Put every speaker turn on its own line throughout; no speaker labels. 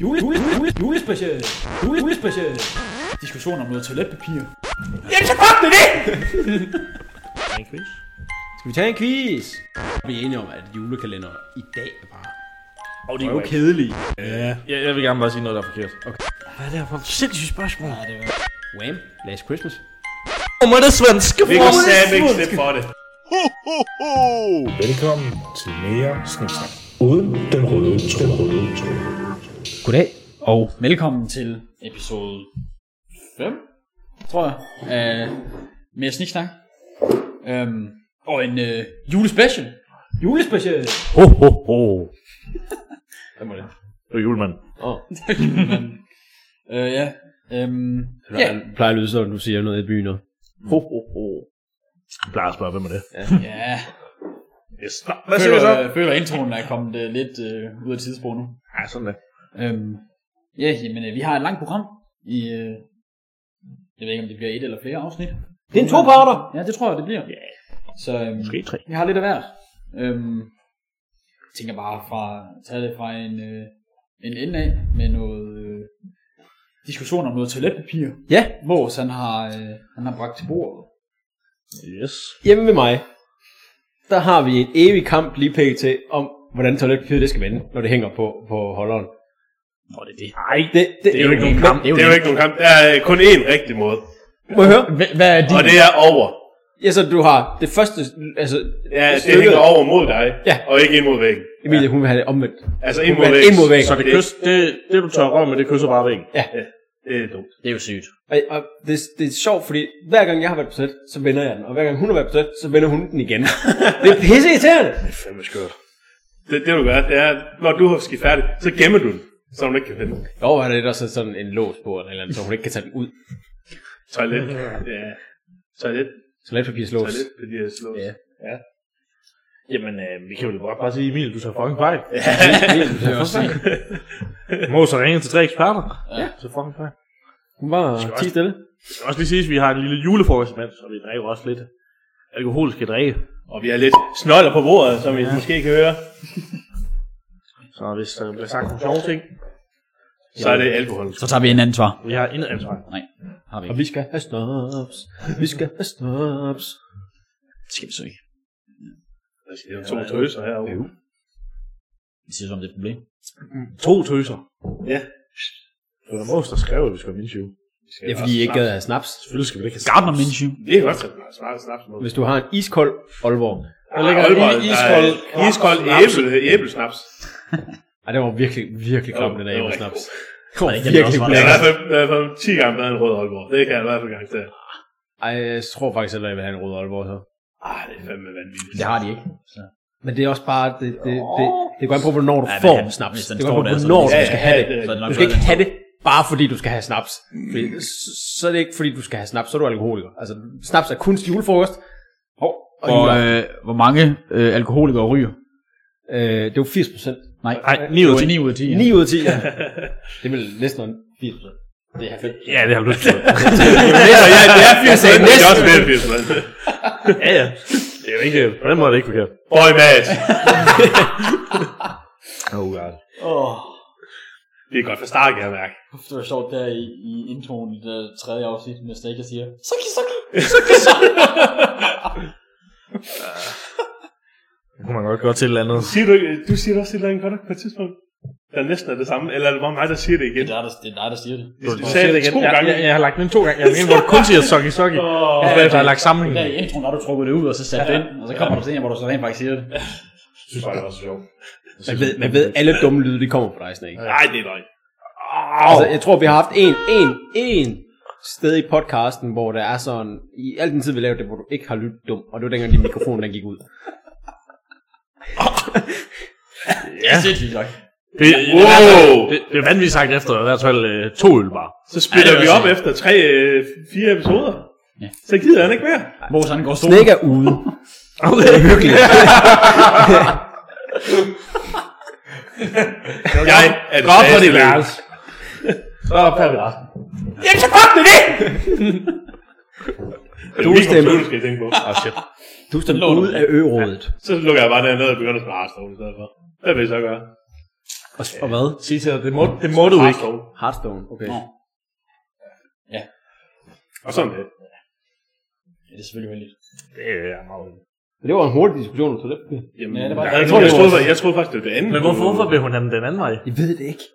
Jule, jule, jule, julespecial. Jule, julespecial. Diskussion om noget toiletpapir.
Jamen så kom med det!
En quiz.
Skal vi tage en quiz? Vi er enige om, at julekalender i dag er bare
Og
det er jo kedelig.
Ja. Jeg, jeg vil gerne bare sige noget, der er forkert.
Hvad er det her for sindssygt spørgsmål? Ja, det var... Wham! Last Christmas.
Om det svenske
Vi kan sammen ikke slippe for det.
Velkommen til mere Sniksnak. Uden den røde tråd. Røde tråd.
Goddag. Og velkommen til episode 5, tror jeg, af mere sniksnak. Øhm, og en øh, julespecial. Julespecial.
Ho, ho, ho. Hvem var det? Det var julemanden.
øh, ja. Øhm,
Ja.
ja.
plejer at lyde sådan, du siger noget i byen og...
Ho, ho, ho. Jeg plejer at spørge, hvem er det?
ja.
Yes. Nå, hvad siger vi så?
Føler, føler introen er kommet øh, lidt øh, ud af tidsspor nu.
Ja, sådan det.
Øhm, ja, jamen, øh, vi har et langt program i... Øh, jeg ved ikke, om det bliver et eller flere afsnit.
Det er en to-parter!
Ja, det tror jeg, det bliver. Yeah. Så øhm,
Måske tre.
vi har lidt af hvert. Øhm, jeg tænker bare fra tage det fra en, øh, en ende af med noget øh, diskussion om noget toiletpapir.
Ja,
Mås, han har, øh, han har bragt til bordet.
Yes.
hjemme ved mig, der har vi en evig kamp lige pt. om, hvordan toiletpapir det skal vende, når det hænger på, på holderen.
Nå, det er det.
Nej, det, det,
Det er jo ikke nogen kamp. Det er jo ikke nogen kamp. Der er øh, kun én rigtig måde.
Må jeg høre?
Hvad er din? Og det er over.
Ja, så du har det første... Altså,
Ja, det
stykket-
hænger over mod dig.
Ja.
Og ikke ind mod væggen.
Emilie, hun vil have det omvendt.
Altså ind
Hun
mod
vil
væggen.
ind mod væggen.
Så det, kys, det, det du tør røv med, det kysser bare væggen.
Ja.
Det er dumt.
Det er jo sygt.
Og, og det, det er sjovt, fordi hver gang jeg har været på toilet, så vender jeg den. Og hver gang hun har været på toilet, så vender hun den igen. det er pisse irriterende.
Det er fandme skørt. Det, det du gør, det er, når du har skidt færdig, så gemmer du den, så hun ikke kan finde den.
Jo, er det også sådan en lås på, eller, et eller andet, så hun ikke kan tage den ud.
Toilet. Ja. Toilet.
Toiletpapirslås.
Toilet, fordi jeg slår.
Ja.
Jamen, øh, vi kan jo bare, bare sige, Emil, du tager fucking fejl. Ja.
Det er også
Må så ringe til tre eksperter. Ja. Så fucking fejl.
Hun var
også-
ti stille.
Det skal også lige siges, at vi har en lille julefrokost med, så vi drikker også lidt alkoholiske drikke. Og vi er lidt snoller på bordet, som I ja. måske kan høre. så hvis der bliver sagt nogle sjove ting, så er det alkohol.
Så tager vi en anden svar.
Vi har intet ansvar.
Har vi
Og
ikke.
vi skal have snaps. Vi skal have snaps.
Det skal vi så ikke.
Det er to tøser herovre.
Vi siger som det er et problem.
To tøser.
Ja.
Det var Mås, der skrev, at vi skal have mindsjø.
Det er fordi, I ikke gad have snaps.
Selvfølgelig skal vi ikke have
Gardner Minshew.
Det er godt, at man snakker snaps med.
Hvis du har en iskold Aalborg.
Der ligger
Aalborg,
i- iskold, iskold æble, æblesnaps.
Ej, det var virkelig, virkelig klam,
Jo,
den
det
der
var
med
rigtig
snaps.
Kom, det
virkelig
Jeg har i
lækker.
hvert fald, i hvert fald 10 gange været en rød Aalborg. Det kan jeg i hvert fald garantere.
Ej, jeg tror faktisk heller, jeg vil have en rød Aalborg her.
Ah, det er fandme vanvittigt.
Det har de ikke.
Men det er også bare, det, det, det, det går an på, hvornår du
Ja, men
får
han-
snaps.
hvis den
Det går an på,
står der, så-
hvornår
Ja,
du
ja,
skal have det.
Så er det nok
Du skal
bedre,
ikke have det, bare fordi du skal have snaps. Fordi, så- så er det ikke, fordi du skal have snaps, så er du alkoholiker. Altså, snaps er kun til julefrokost. Hov, og
Hvor,
juleaften.
øh, hvor mange øh, alkoholikere ryger?
øh, det var 80 procent.
Nej,
Nej, 9 ud af 10.
9 ud af 10.
9 ud af 10, ja. Det vil næsten være 80 procent. Det er 90.
Ja, det har du lyst til.
Ja, ja, det er
Jeg sagde næsten. Det er også mere end 80
Ja, ja.
Det er jo ikke... På den måde er det ikke forkert. Boy match. oh god.
Åh,
Det er godt for start, kan jeg mærke.
oh, det var sjovt der i, i introen i det tredje afsnit, når Staker siger, Suki, Suki!
Det kunne man godt gøre til et eller andet. Siger du, ikke, du siger også et eller andet godt nok på et tidspunkt. Der næsten er det samme. Eller er det bare mig, der siger det igen?
Det er dig, der, det er dig, der siger det.
Du, du sagde det igen.
To gange.
Jeg, jeg, jeg, har lagt den to gange. Jeg har den ene, hvor du kun siger soggy soggy.
Åh.
Og så bagefter har jeg lagt sammenhængen.
Der i introen, der har du trukket det ud, og så satte det ind, og så kommer der til en, hvor du så rent faktisk siger det.
Jeg synes bare, det var så sjovt.
Man ved, man ved alle dumme lyde, de kommer fra dig, Snake.
Nej, det er løgn.
Altså, jeg tror, vi har haft en, en, en sted i podcasten, hvor der er sådan, i al den tid, vi lavede det, hvor du ikke har lyttet dum, og det var dengang, din mikrofon, den gik ud.
Ja. Det er sindssygt nok.
Det, wow! altså, Det, det er vanvittigt sagt efter i hvert fald øh, to øl bare. Så splitter
Ja,
vi
det er
op efter tre, øh, fire episoder.
Ja.
Så gider han ikke mere.
Hvor sådan går stolen.
Snake er ude.
Okay. Det er hyggeligt. jeg er det
Godt for
bedste
det værelse.
værelse. Så er vi resten.
Jamen så kom med det!
Du
er stemt.
Du skal jeg tænke på.
Ah,
Oh, shit.
Du stemte ud af ørådet.
Så lukker jeg bare den ned og begynder at spare stolen i stedet for. Hvad vil jeg så gøre?
Og, og hvad?
Sig til dig, det må, det må du ikke.
Hearthstone, okay.
Nå.
Og sådan det.
Ja, det er selvfølgelig heldigt.
Det er meget.
Så det var en hurtig diskussion om toiletpapir.
Jamen,
Ja, det var-
jeg, jeg, troede, jeg, troede, jeg, jeg troede faktisk, det var det andet.
Men hvorfor, hvorfor vil hun have den den anden vej?
Jeg ved det ikke.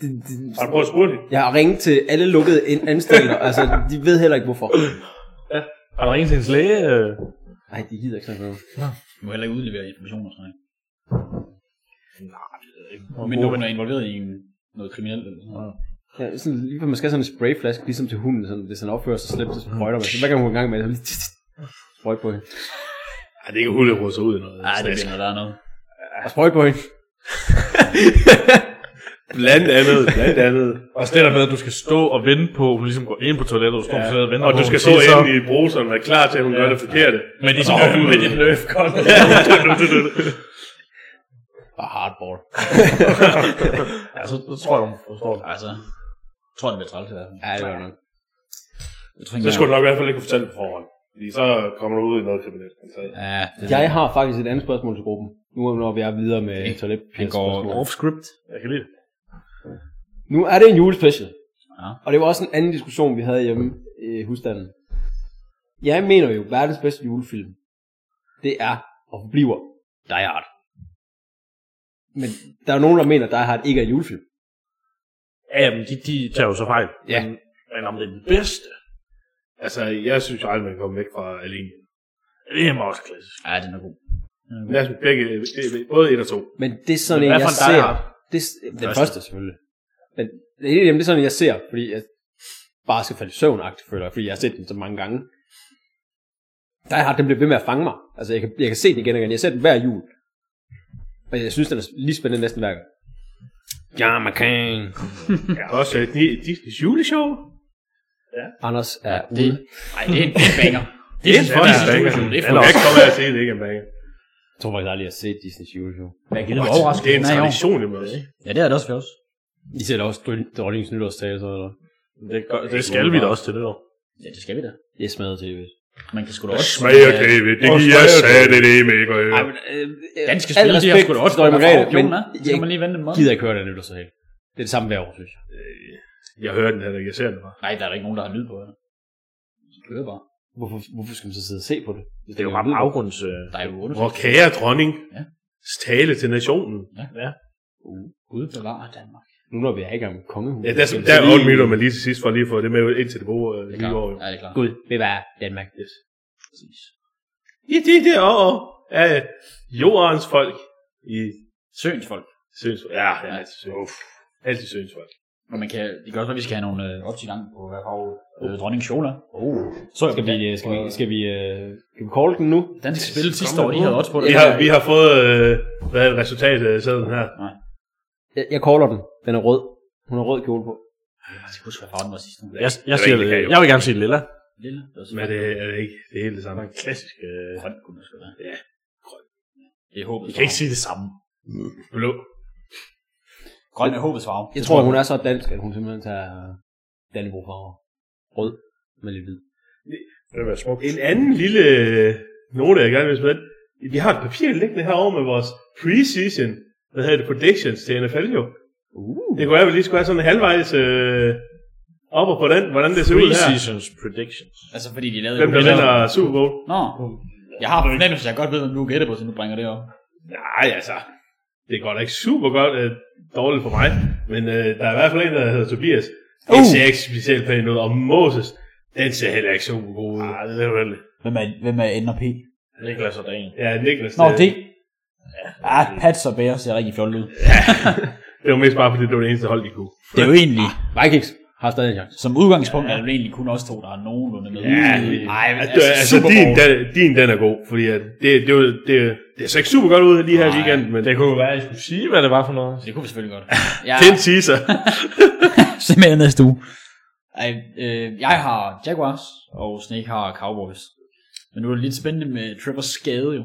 Det, det,
Har du prøvet at spørge det?
jeg har ringet til alle lukkede ind- anstalter, altså de ved heller ikke hvorfor.
Har du ringet til hendes læge? øh?
Nej, de gider ikke sådan noget.
Du må heller ikke udlevere information og sådan noget. Nej, Men når man er involveret i en, noget kriminelt eller sådan noget.
Ja, sådan, lige før man skal have sådan en sprayflaske, ligesom til hunden, sådan, hvis han opfører sig slemt, så sprøjter man. Så hver gang hun er i gang med det, så lige tss, tss, sprøjt på hende.
Nej, det kan hulle rode sig ud i noget.
Nej, det bliver noget, der er noget.
Og sprøjt på hende.
Blandt andet, blandt andet.
Og det der med, at du skal stå og vente på, hun ligesom går ind på toilettet, og står ja. på toilettet og venter
Og
på,
du
hun
skal så
siger
ind i bruseren og være klar til, at hun gør det forkerte.
Med dit,
Åh,
med
Gud.
dit nerfgun.
Bare hardball.
ja, så, så tror jeg, hun forstår det.
Altså, jeg tror, det bliver træls i hvert fald.
Ja, det var nok.
Jeg tror, ikke,
Så
jeg-
skulle du nok i hvert fald ikke kunne fortælle det på forhånd. Fordi så kommer du ud i noget kriminelt. Så
Ja, det
Jeg har faktisk et andet spørgsmål til gruppen. Nu når vi er videre med
Okay.
toiletpapir.
Han går
Off script.
jeg kan lide det.
Nu er det en julespecial.
Ja.
Og det var også en anden diskussion, vi havde hjemme i husstanden. Jeg mener jo, verdens bedste julefilm, det er og forbliver Die Hard. Men der er jo nogen, der mener, at Die Hard ikke er en julefilm.
Ja, men de, de tager jo så fejl.
Ja.
Men, men om det er den bedste,
Altså, jeg synes jo aldrig, man kan komme væk fra alene.
det er mig også klassisk.
Ja, den er god.
Men jeg synes begge, det- både et og to.
Men det er sådan
Men
en,
hvad
jeg
for en Die
ser.
Hard?
Det, er- den første.
Første.
første selvfølgelig. Men det, jamen, det er sådan en, jeg ser, fordi jeg bare skal falde i søvn føler jeg, fordi jeg har set den så mange gange. Die Hard, den bliver ved med at fange mig. Altså, jeg kan, jeg kan se den igen og igen. Jeg ser den hver jul. Og jeg synes, den er lige spændende næsten hver gang. John McCain.
Ja. Også øh, de, Disney's juleshow.
Anders er ja,
Det,
ude.
nej, det er en banger. Det
Det
er
er
en
en
fucking
banger.
situation. Det er fucking
Eller også kommer jeg til, det ikke er en banger.
Jeg tror faktisk aldrig, jeg har set Disney's juleshow.
Jeg gider mig overraske.
Det er en tradition, i måde.
Ja, det er det også for os.
I ser da også dron- dronningens nytårstale, så eller?
Det, gør, det skal vi da også til det år.
Ja, det skal vi da.
Jeg smadrer tv.
Man kan sgu da også...
Smager
Ja,
David, det
Og
giver jeg
smager
sagde det, det er mega.
Ej, men, øh,
Danske spillere, de har sgu da også...
Dronning Margrethe, men
men... Så kan man
jeg
lige vente en måned.
gider ikke høre den nytårstale. Det er det samme hver år, synes jeg.
Jeg hører den her, jeg ser den bare.
Nej, der er der ikke nogen, der har lyd på. Ja. Du hører bare.
Hvorfor, hvorfor skal man så sidde og se på det?
Det er jo bare baggrunds... Øh,
Der er jo
Hvor
undersøgelser.
kære dronning,
Ja.
tale til nationen.
Gud bevare Danmark.
Nu når vi er i gang med kongehuset.
Ja, der, der, der er 8 minutter, men lige til sidst, for lige at få det med ind til det gode øh,
Det er
nye år.
klart.
Jo.
Ja, det er klart.
Gud, bevare Danmark.
Yes.
Præcis.
I de der år af jordens folk i
Søens folk.
Søns. Ja, ja, altid Søns. Altid Søns folk.
Og man kan, det kan også være, at vi skal have nogle øh, ops i gang på hvad farve øh, dronning Shola. Oh. Så
Skal vi, øh, skal vi, skal vi, øh, skal vi call den nu?
Danske spil sidste år, de havde odds på det.
Vi har, vi har fået, øh, hvad er resultatet af sådan her?
Jeg, jeg caller den. Den er rød. Hun har rød kjole på.
Jeg skal huske, hvad farven var sidste år.
jeg, jeg,
ved
siger,
ikke,
det,
det kan jeg jo.
jeg vil gerne sige lilla.
Lille. Det var så
Men er det, er det ikke det hele det samme? En klassisk øh,
grøn, kunne det sgu være.
Ja,
Det er håbets
Jeg kan ikke sige det samme. Blå.
Grøn er håbets farve.
Jeg tror, hun er så dansk, at hun simpelthen tager øh, Dannebro farver. Rød med lidt hvid.
Det vil være smukt.
En anden lille øh, note, jeg gerne vil smide ind. Vi har et papir liggende herovre med vores preseason, hvad hedder det, predictions til NFL jo.
Uh.
Det kunne være, at vi lige skulle have sådan en halvvejs øh, op og på den, hvordan det ser ud her.
Pre-seasons predictions.
Altså, fordi de lavede...
Hvem der vinder Super Bowl.
Nå. Jeg har fornemmelse, jeg godt ved, hvem du gætter på, så nu bringer det op.
Nej, altså. Det går da ikke super godt øh, dårligt for mig, men øh, der er i hvert fald en, der hedder Tobias. Det
Uh.
ser ikke specielt pænt ud, og Moses, den ser heller ikke super god ud.
Ah,
Nej, det er vel.
Hvem er, hvem er NRP?
Niklas og Dan.
Ja, Niklas.
Nå,
øh,
det... Ah, Pats og Bears ser rigtig fjollet ud.
Det var mest bare, fordi det var det eneste hold, de kunne.
Det er jo egentlig,
Vikings har stadig en chance.
som udgangspunkt, er det jo egentlig kun os to, der er nogenlunde med.
Ja,
nej,
Altså, altså din, den, din, den er god, fordi at det, det, det, det, det ser ikke super godt ud lige her i
Nej,
weekenden, men
Det kunne jo være, at I skulle sige, hvad det var for noget.
Det kunne vi selvfølgelig godt. Jeg
den teaser.
se med næste uge. Ej, øh, jeg har Jaguars, og Snake har Cowboys. Men nu er det lidt spændende med Trevor skade jo.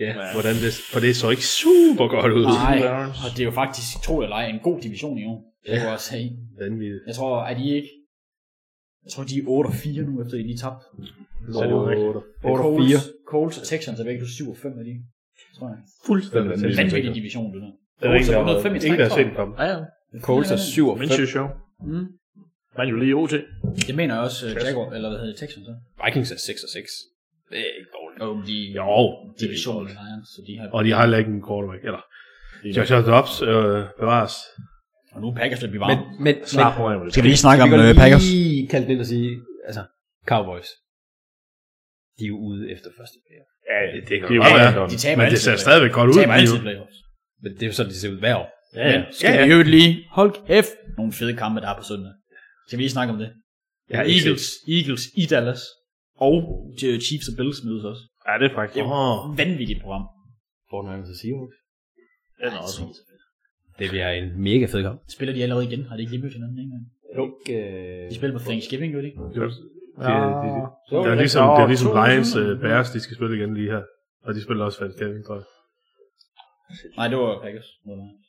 ja, hvordan det, for det så ikke super godt ud.
Nej, og det er jo faktisk, tro det eller ej, en god division i år. Det kunne jeg også have.
Vanvittigt.
Jeg tror, at de ikke... Jeg tror, de er 8 og 4 nu, efter de lige tabte.
Så er det jo rigtigt.
8 og
Colts,
4.
Colts og Texans er begge 7 og 5 af de, tror jeg.
Fuldstændig
Vanvittig division, det der.
Det er der ingen, der,
Colts er
har,
105 i
ingen, der har
træk,
set den komme.
Ja, ja.
Colts er 7 og
Men
5.
det er sjov.
Mm.
Man er jo lige i OT.
Det mener jeg også uh, Jaguar, eller hvad hedder det, Texans, så?
Vikings er 6 og 6. Det er ikke dårligt.
Jo, men de
Jo, det er
division Lions, så de har...
Og de har heller ikke en quarterback, eller... Josh Dobbs øh, bevares.
Og nu er Packers løbet i
Men,
varmen.
men,
Slap over, jeg vil
Skal vi lige snakke
men
om
vi kan
øh,
godt
Packers?
lige kalde den ind og sige, altså, Cowboys, de er jo ude efter første player.
Ja, det, det kan
Det er jo
godt
meget
være.
godt.
De taber
Men det
altid
ser
playoffs.
stadigvæk godt
De
ud.
taber
lige nu.
altid playoffs.
Men det er jo sådan, det ser ud hver år.
Ja, ja.
Men skal
ja,
vi
ja.
jo lige... Hold kæft, nogle fede kampe, der er på søndag. Skal vi lige snakke om det?
Jeg har ikke
Eagles, Eagles i Dallas. Og øh, Chiefs og Bills mødes også.
Ja, det er faktisk.
Åh,
Vanvittigt program.
Fortnite og Seahawks.
Den er også
Det bliver en mega fed kamp.
Spiller de allerede igen? Har de ikke lige mødt hinanden en gang?
Jo. Øh,
De spiller på Thanksgiving, jo ikke?
det var-
Ja.
det- det- det- Det er ligesom, det er ligesom Lions uh, Bears, de skal spille igen lige her. Og de spiller også Thanksgiving, tror jeg.
Nej, det var Packers. mod Lions.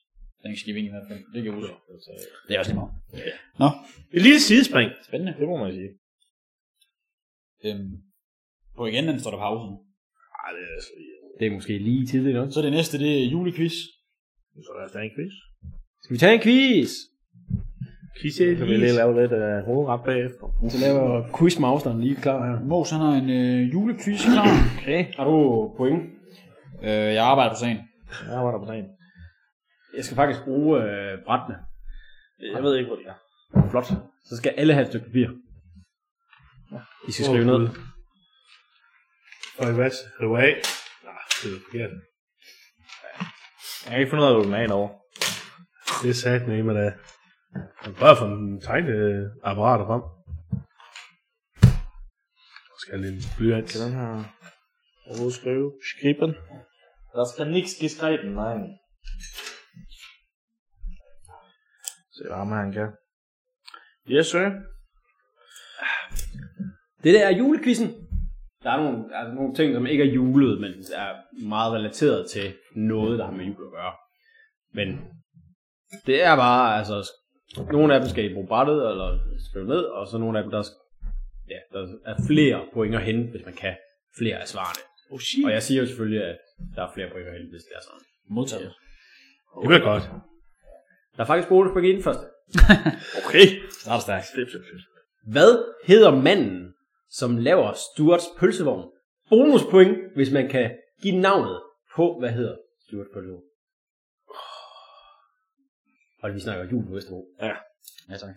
Thanksgiving i hvert fald. Det kan jeg huske. Det er også lige meget. Nå,
Et lille sidespring.
spændende.
Det må man sige.
Øhm, på igen, den står der pausen.
Ej, det er så
det er måske lige tidligt nok.
Så det næste, det er julequiz.
Så er der en quiz.
Skal vi tage en quiz?
Quiz
Så vil jeg lige lave lidt øh, hovedret bagefter.
Så laver quizmasteren lige klar her.
Mås, han har en øh, julequiz klar.
Okay. Har du point?
øh, jeg arbejder på sagen.
Jeg arbejder på dagen.
Jeg skal faktisk bruge øh, brættene. Jeg ved ikke, hvor det er. Flot. Så skal alle have et stykke papir. I skal skrive noget.
Og i hvad? Er du af? Nej, det er forkert.
Jeg kan ikke finde ud af, hvad du er over.
Det er sat med da. Han prøver at få en tegneapparater frem. Så skal jeg lige en blyant.
Skal den her overhovedet skrive? Skriben? Der skal niks geschriben, nej. Se, hvad ham her, han kan. Yes, sir.
Det der er julequizzen. Der er nogle, altså nogle ting, som ikke er julet, men er meget relateret til noget, der har med jul at gøre. Men det er bare, altså, nogle af dem skal I bruge brættet, eller skrive ned, og så nogle af dem, der, skal, ja, der er flere point at hente, hvis man kan flere af svarene.
Oh shit.
Og jeg siger jo selvfølgelig, at der er flere point at hente, hvis det er sådan.
Modtaget.
Det bliver godt.
Der er faktisk bonuspoint i den første.
Okay.
Start stærkt.
Hvad hedder manden, som laver Stuarts pølsevogn? Bonuspoint, hvis man kan give navnet på, hvad hedder Stuarts pølsevogn. Og vi snakker jul på Vesterbro.
Ja, tak.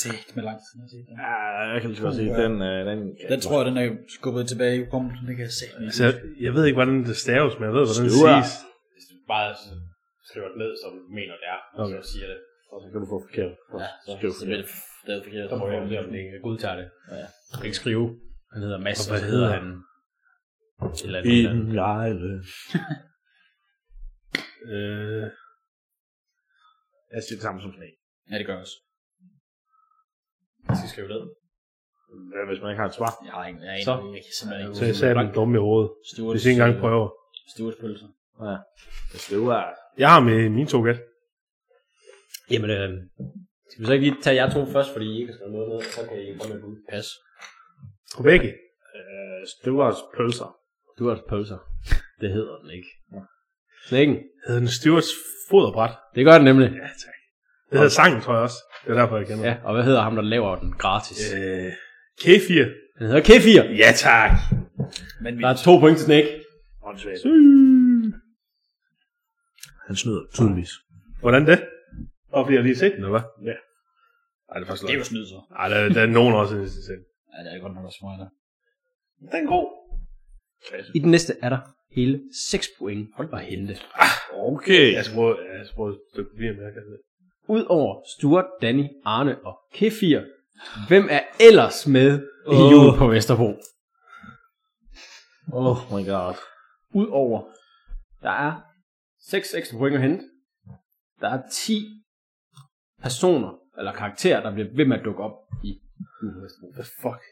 Sæt med lang tid. at sige det.
Ja, jeg kan lige så godt sige, den, øh, den,
Den tror jeg, den er skubbet tilbage i hukommelsen. Det kan jeg se.
Altså, jeg, jeg ved ikke, hvordan det staves, men jeg ved, hvordan det
Stuart.
siges.
Hvis du bare skriver det ned, som du mener det er, og okay. så siger det.
Og så kan du få forkert.
Ja,
så
så
skriv
så bliver det lavet forkert.
Så må jeg se, om det ikke godtager det. Ja. Du kan ikke skrive. Han hedder Mads,
Og hvad
og så hedder
hedder
han? Et eller andet.
En lejle.
Øh,
Jeg siger Altså, det samme som sådan en.
Ja, det gør jeg også.
Jeg skal skrive ned.
Hvad hvis man ikke har et svar?
Jeg har ikke, jeg, er
Så.
jeg kan simpelthen
så jeg
ikke.
sagde den dumme i hovedet.
Stuart,
Hvis jeg ikke engang prøver.
Stuart pølser.
Ja. Hvis det var...
Jeg har med mine to gæt.
Jamen, øh, skal vi så ikke lige tage jer to først, fordi I ikke har skrevet noget ned, og så kan I komme med et bud.
Pas.
På begge.
Øh, Stuarts pølser.
Stuarts pølser. Det hedder den ikke. Knækken.
Hedder den Stewarts foderbræt.
Det gør den nemlig.
Ja, tak. Det hedder sangen, tror jeg også. Det er derfor, jeg kender
Ja,
den.
og hvad hedder ham, der laver den gratis?
Øh, Kefir.
Den hedder Kefir.
Ja, tak.
Men vi,
Der er to point til Snake.
Åndssvagt. Han snyder, tydeligvis.
Hvordan det? Og bliver lige set, eller hvad?
Ja.
Ej, det er faktisk
det er jo
løgn.
snyd, så.
Ej, der, der er nogen også, der synes, det
Ja, det er godt nok også mig, der.
Den er god.
I den næste er der hele 6 point. Hold bare hente.
Okay.
Jeg skal prøve, jeg skal prøve et stykke papir med, jeg kan det.
Udover Stuart, Danny, Arne og Kefir, hvem er ellers med i
Åh.
jul på Vesterbro?
Oh my god.
Udover, der er 6 ekstra point at hente. Der er 10 personer eller karakterer, der bliver ved med at dukke op i jul på Vesterbro.
The fuck?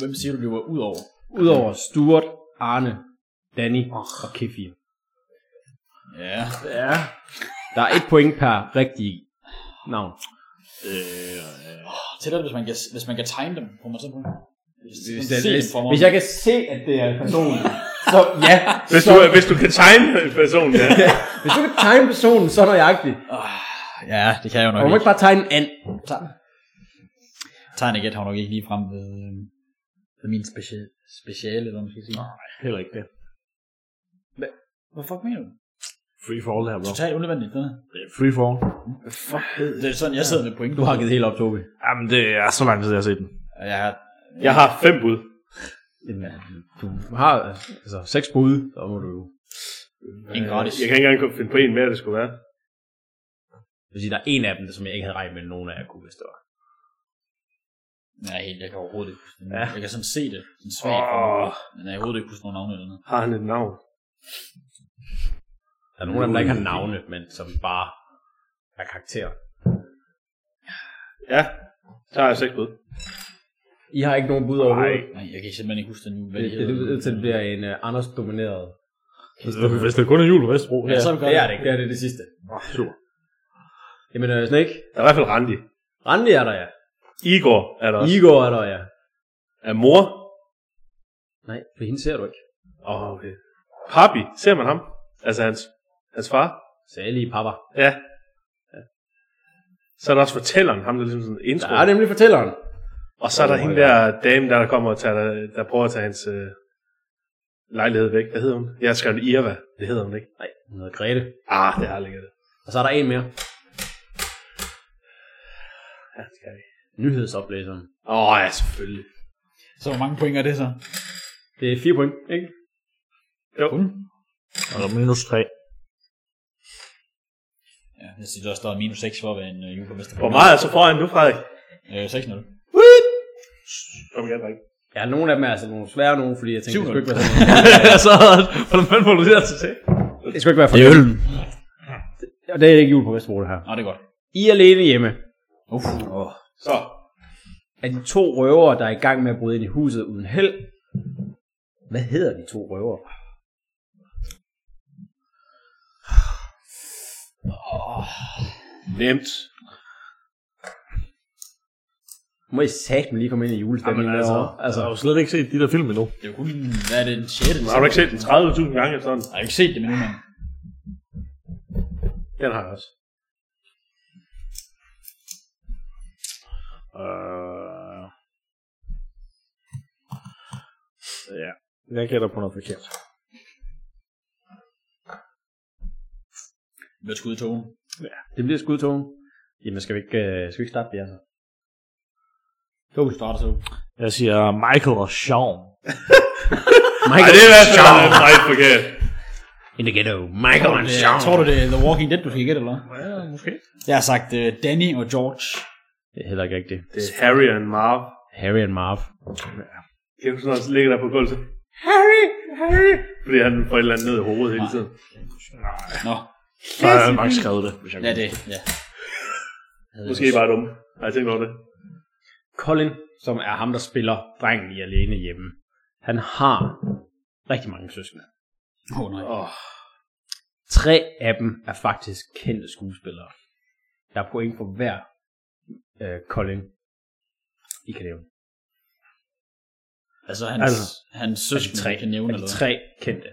Hvem siger du, løber ud over?
Udover Stuart, Arne, Danny oh. og Kefir.
Ja.
Ja.
Der er et point per rigtig navn.
Øh,
Ah, Til det, hvis man kan, hvis man kan time dem, får man sådan på. Hvis,
Hvis,
sådan
det,
set
hvis,
for mig.
hvis jeg kan se, at det er en person, så ja.
Hvis
så,
du, hvis du kan tegne personen, ja.
hvis du kan tegne personen så nøjagtigt,
Ah, Ja, det kan jeg jo
og
nok
man må
ikke.
ikke bare tegne en and.
Tegnet gæt har jo nok ikke lige frem ved, øh, ved min speciale, speciale, eller hvad man skal sige.
Heller ikke det.
Hvad fuck mener du?
Free fall her, bro.
Totalt unødvendigt, det her.
Free fall.
Det er sådan, jeg sidder med point.
Du har givet helt op, Tobi.
Jamen, det er så lang tid, jeg har set den.
Jeg har...
Jeg har fem bud.
Du har altså seks bud, så må du jo...
En gratis.
Øh, Jeg kan ikke engang finde på en mere, det skulle være.
Jeg vil sige, der er en af dem, som jeg ikke havde regnet med, at nogen af jer kunne, hvis det var.
Nej, helt, jeg kan overhovedet ikke huske det.
Ja.
Jeg kan sådan se det. Sådan svagt.
Åh.
Oh. Men jeg kan overhovedet ikke huske nogen navne eller noget.
Har han et navn?
Der er nogen af dem, der ikke har navne, men som bare er karakterer.
Ja. Så har jeg seks bud.
I har ikke nogen bud overhovedet.
Nej, jeg kan simpelthen ikke huske det nu. Hvad
Det,
det,
det, det, lyder til, at det bliver en uh, Anders-domineret.
Hvis det kun er jul på Vesterbro.
Ja, så er vi godt.
Det er det ikke, det er det, det sidste.
Oh, super.
Jamen, uh, Snake,
Der er i hvert fald Randi.
Randi er der, ja.
Igor er der også.
Igor er der, ja.
Er mor.
Nej, for hende ser du ikke.
Åh, oh, okay. Papi, ser man ham? Altså hans, hans far?
Sagde lige pappa.
Ja. ja. Så er der også fortælleren, ham der ligesom sådan intro.
Der er nemlig fortælleren.
Og så er der
Oh
oh
my
hende der dame, der, der kommer og tager, der prøver at tage hans øh, lejlighed væk. Hvad hedder hun? Jeg har skrevet Irva. Det hedder hun ikke.
Nej, hun hedder Grete.
Ah, det har ligget det.
Og så er der en mere.
Ja, det kan jeg ikke.
Nyhedsoplæseren.
Åh, oh, ja, selvfølgelig.
Så hvor mange point er det så?
Det er fire point, ikke?
Jo.
Kun?
Og der er minus 3.
Ja, jeg synes også, der er minus 6 for at være en uh, juleborgmester.
Hvor meget er så foran nu, Frederik?
Øh, 6-0.
Kom igen, Frederik.
Ja, nogle af dem er altså nogle svære nogle, fordi jeg tænkte, det skulle ikke være sådan
så hvordan fanden må du det altså til?
noget. Det skulle ikke være for det.
øllen.
Og det er ikke jul på Vesterbro, det her.
Nå, det er godt.
I er alene hjemme.
Uff. Oh.
Så.
Er de to røvere, der er i gang med at bryde ind i huset uden held? Hvad hedder de to røvere?
Nemt.
Må I satme lige komme ind i julestemningen
Jamen, altså,
derovre? Altså,
Jeg har jo slet ikke set de der film endnu.
Det er jo kun, hvad er det, den 6.
Har du ikke set den 30.000 gange efterhånden?
Jeg har ikke set det med mand.
Den har jeg også. Øh... Ja.
Jeg gætter på noget forkert.
Med skud i togen.
det bliver skudtogen. Jamen, skal vi ikke, øh, skal vi ikke starte det, altså? Tobi starter så.
Jeg siger Michael og Sean.
Ej, det er i hvert fald meget forkert.
In the ghetto. Michael and Sean.
Øh, Tror du, det er The Walking Dead, du skal gætte, eller hvad?
Ja, måske.
Jeg har sagt uh, Danny og George.
Det er heller ikke rigtigt.
Det er Harry and Marv.
Harry and Marv.
Kan du sådan, at han ligger der på gulvet? Harry, Harry. Fordi han får et eller andet ned i hovedet hele tiden.
Nå,
Så har jeg nok skrevet det. Hvis jeg
ja det. Ja.
Måske bare dumme. Har jeg tænkt over det?
Colin, som er ham, der spiller drengen i alene hjemme, han har rigtig mange søskende.
Åh oh, nej.
Åh,
Tre af dem er faktisk kendte skuespillere. Der er point for hver øh, Colin. I kan nævne.
Altså hans, altså,
Altså,
hans søskende,
tre?
tre, kan nævne
Er
eller
de
hvad?
tre kendte?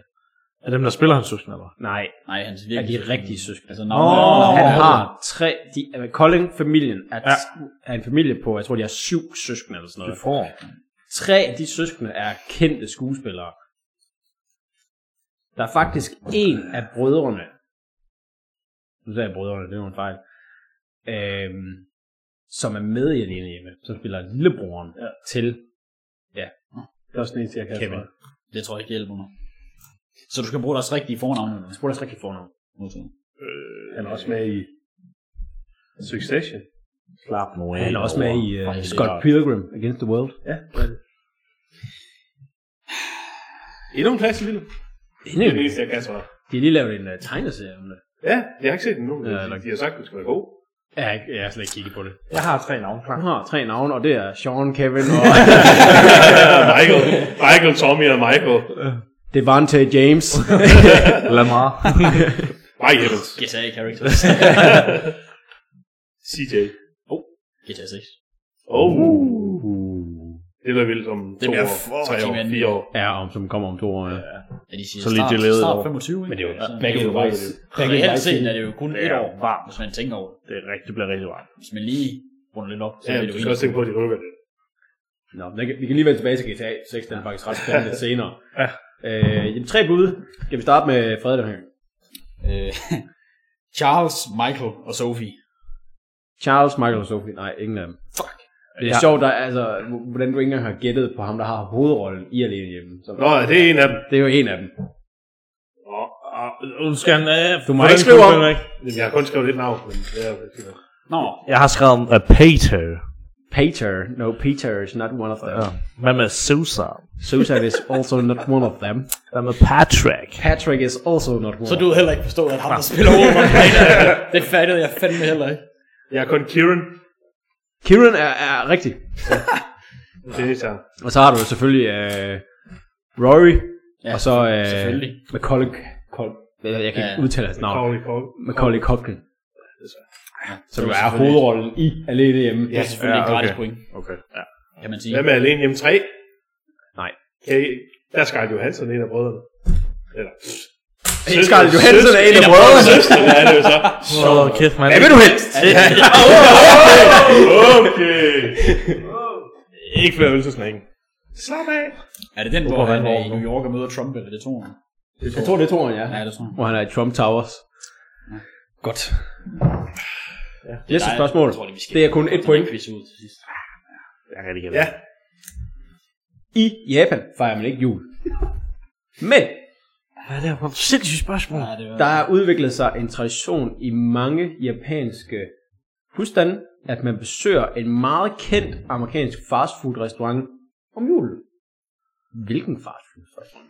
Er dem, der spiller hans søskende, eller?
Nej,
Nej, hans
er
virkelig
de rigtige søskende.
Altså,
Altså,
navnet er-
Åh,
han
navnet er-
har tre... De, øh, Colin-familien er,
Ja.
er en familie på, jeg tror, de har syv søskende eller sådan noget.
Det får.
Tre af de søskende er kendte skuespillere. Der er faktisk en af brødrene. Nu sagde jeg brødrene, det er jo en fejl. Øhm, som er med i Alene Hjemme, som spiller lillebroren ja. til
det er også den eneste, jeg kan.
Kevin.
svare.
Det tror jeg ikke hjælper mig. Så du skal bruge deres rigtige fornavn, eller
Jeg spurgte også rigtig fornavn.
hvad?
Han er også med i Succession.
Klap nu af.
Han er også med i
Ej, det
uh,
er
Scott
rart.
Pilgrim Against the World.
Ja, det er det. Endnu en plads, lille.
Det
Det
er
er det
en-
eneste, jeg kan svare.
De har lige lavet en uh, tegneserie om det.
Ja, jeg har ikke set den nu.
Ja, eller-
De har sagt, at den skal være god.
Jeg har, ikke, jeg har slet ikke kigget på det.
Jeg har tre navne klar.
Han har tre navne, og det er Sean, Kevin og
Michael, Michael, Tommy og Michael.
Devante James.
Lamar.
Mike Evans.
GTA characters.
CJ.
GTA 6.
Oh. Det er da vildt om
Det
to
bliver
år,
for
tre år,
vanvittigt.
fire år.
Uh. Ja, om, som kommer om to år. Ja.
Ja, de siger så
Så lige
start,
delayet
start
over.
25, ikke?
Men det er jo
Altså,
back in the
jo-
vice. Back in the
Reelt
vice.
set er det jo kun
Det
et
er
år,
varmt.
hvis man tænker over det.
Det, er rigtig, det bliver rigtig varmt.
Hvis man lige runder lidt op, så
Ja,
bliver
du
det
skal
jo
også tænke på, at de rykker det.
Nå, men den kan, vi kan lige vende tilbage til GTA 6, den er faktisk ret spændende lidt senere.
Ja.
Øh, jamen, tre bud. Skal vi starte med Fred den her?
Øh, Charles, Michael og Sophie.
Charles, Michael og Sophie. Nej, ingen af dem.
Fuck.
Det er ja. sjovt, der, altså, h- hvordan du ikke engang har gættet på ham, der har hovedrollen i Alene Hjemme. Så,
Nå, det er en af dem.
Det er jo en af dem.
Åh, åh, Nu skal han... Øh,
Du må
hvordan
ikke
skriver
skrive
han?
om.
Jamen, Jeg har kun skrevet et navn, men det er jo ikke noget.
Nå,
Jeg har skrevet om øh, Peter.
Peter. No, Peter is not one of them.
Ja. Hvad med Susan?
Susan is also not one of them.
Hvad med Patrick?
Patrick is also not one
så
of
du havde heller ikke forstået, at ham, der spiller over det fattede jeg fandme heller ikke.
Jeg har kun Kieran.
Kieran er, er rigtig.
Det er ikke
Og så har du selvfølgelig øh, Rory.
Ja,
og så øh,
selvfølgelig.
Macaulay... Col- jeg kan ikke
Ja.
udtale hans navn.
Pauli Kong.
Macaulay Culkin.
Så
Som er hovedrollen i Alene Hjemme.
Det er selvfølgelig
Ja,
et gratis
okay.
point,
Okay. Ja.
kan man sige.
Hvad med Alene Hjem 3?
Nej.
Kan I, der skal Johansson en af brødrene. Eller...
Scarlett Johansson er en af brødrene.
Søster, er det jo så.
Så kæft, mand.
Hvad vil du helst?
Okay. Ikke flere øl til snakken. Slap af.
Er det den, hvor han er i New York og møder Trump, eller er det to?
Jeg tror, det er toren, ja.
Ja, det tror jeg.
Hvor han er i Trump Towers. Godt. Næste
Nej,
spørgsmål.
jeg tror, vi skal-
Det er kun et point.
Quiz ud til sidst.
Jeg kan ikke
Ja.
ja.
I Japan fejrer man ikke jul. Men
Hvad er det her for et sindssygt spørgsmål?
Ja, det var...
der har udviklet sig en tradition i mange japanske husstande, at man besøger en meget kendt amerikansk fastfood restaurant om julen. Hvilken fastfood restaurant?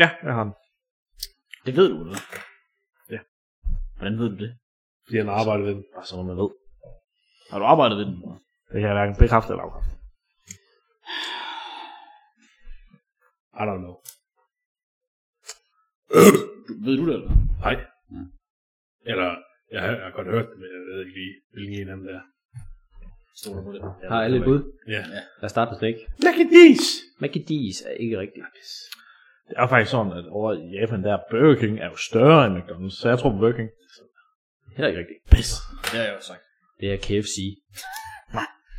Ja, jeg har den.
Det ved du, eller?
Ja.
Hvordan ved du det?
Fordi han arbejder ved den.
Bare sådan noget, man ved.
Har du arbejdet ved den?
Det kan jeg hverken bekræfte eller afkræfte.
I don't know.
Du, ved du det, eller?
Nej.
Mm.
Eller, jeg har, jeg har godt hørt det, men jeg ved ikke lige, hvilken en af dem det er.
Stod du på det?
Har alle et bud?
Ja.
Lad os starte med Snake.
Lakadis!
Mackey D's er ikke rigtigt.
Det er faktisk sådan, at over i Japan, der er Burger King er jo større end McDonald's, så jeg tror Burger King.
Heller ikke rigtigt.
Pis.
Det har jeg jo sagt.
Det er KFC.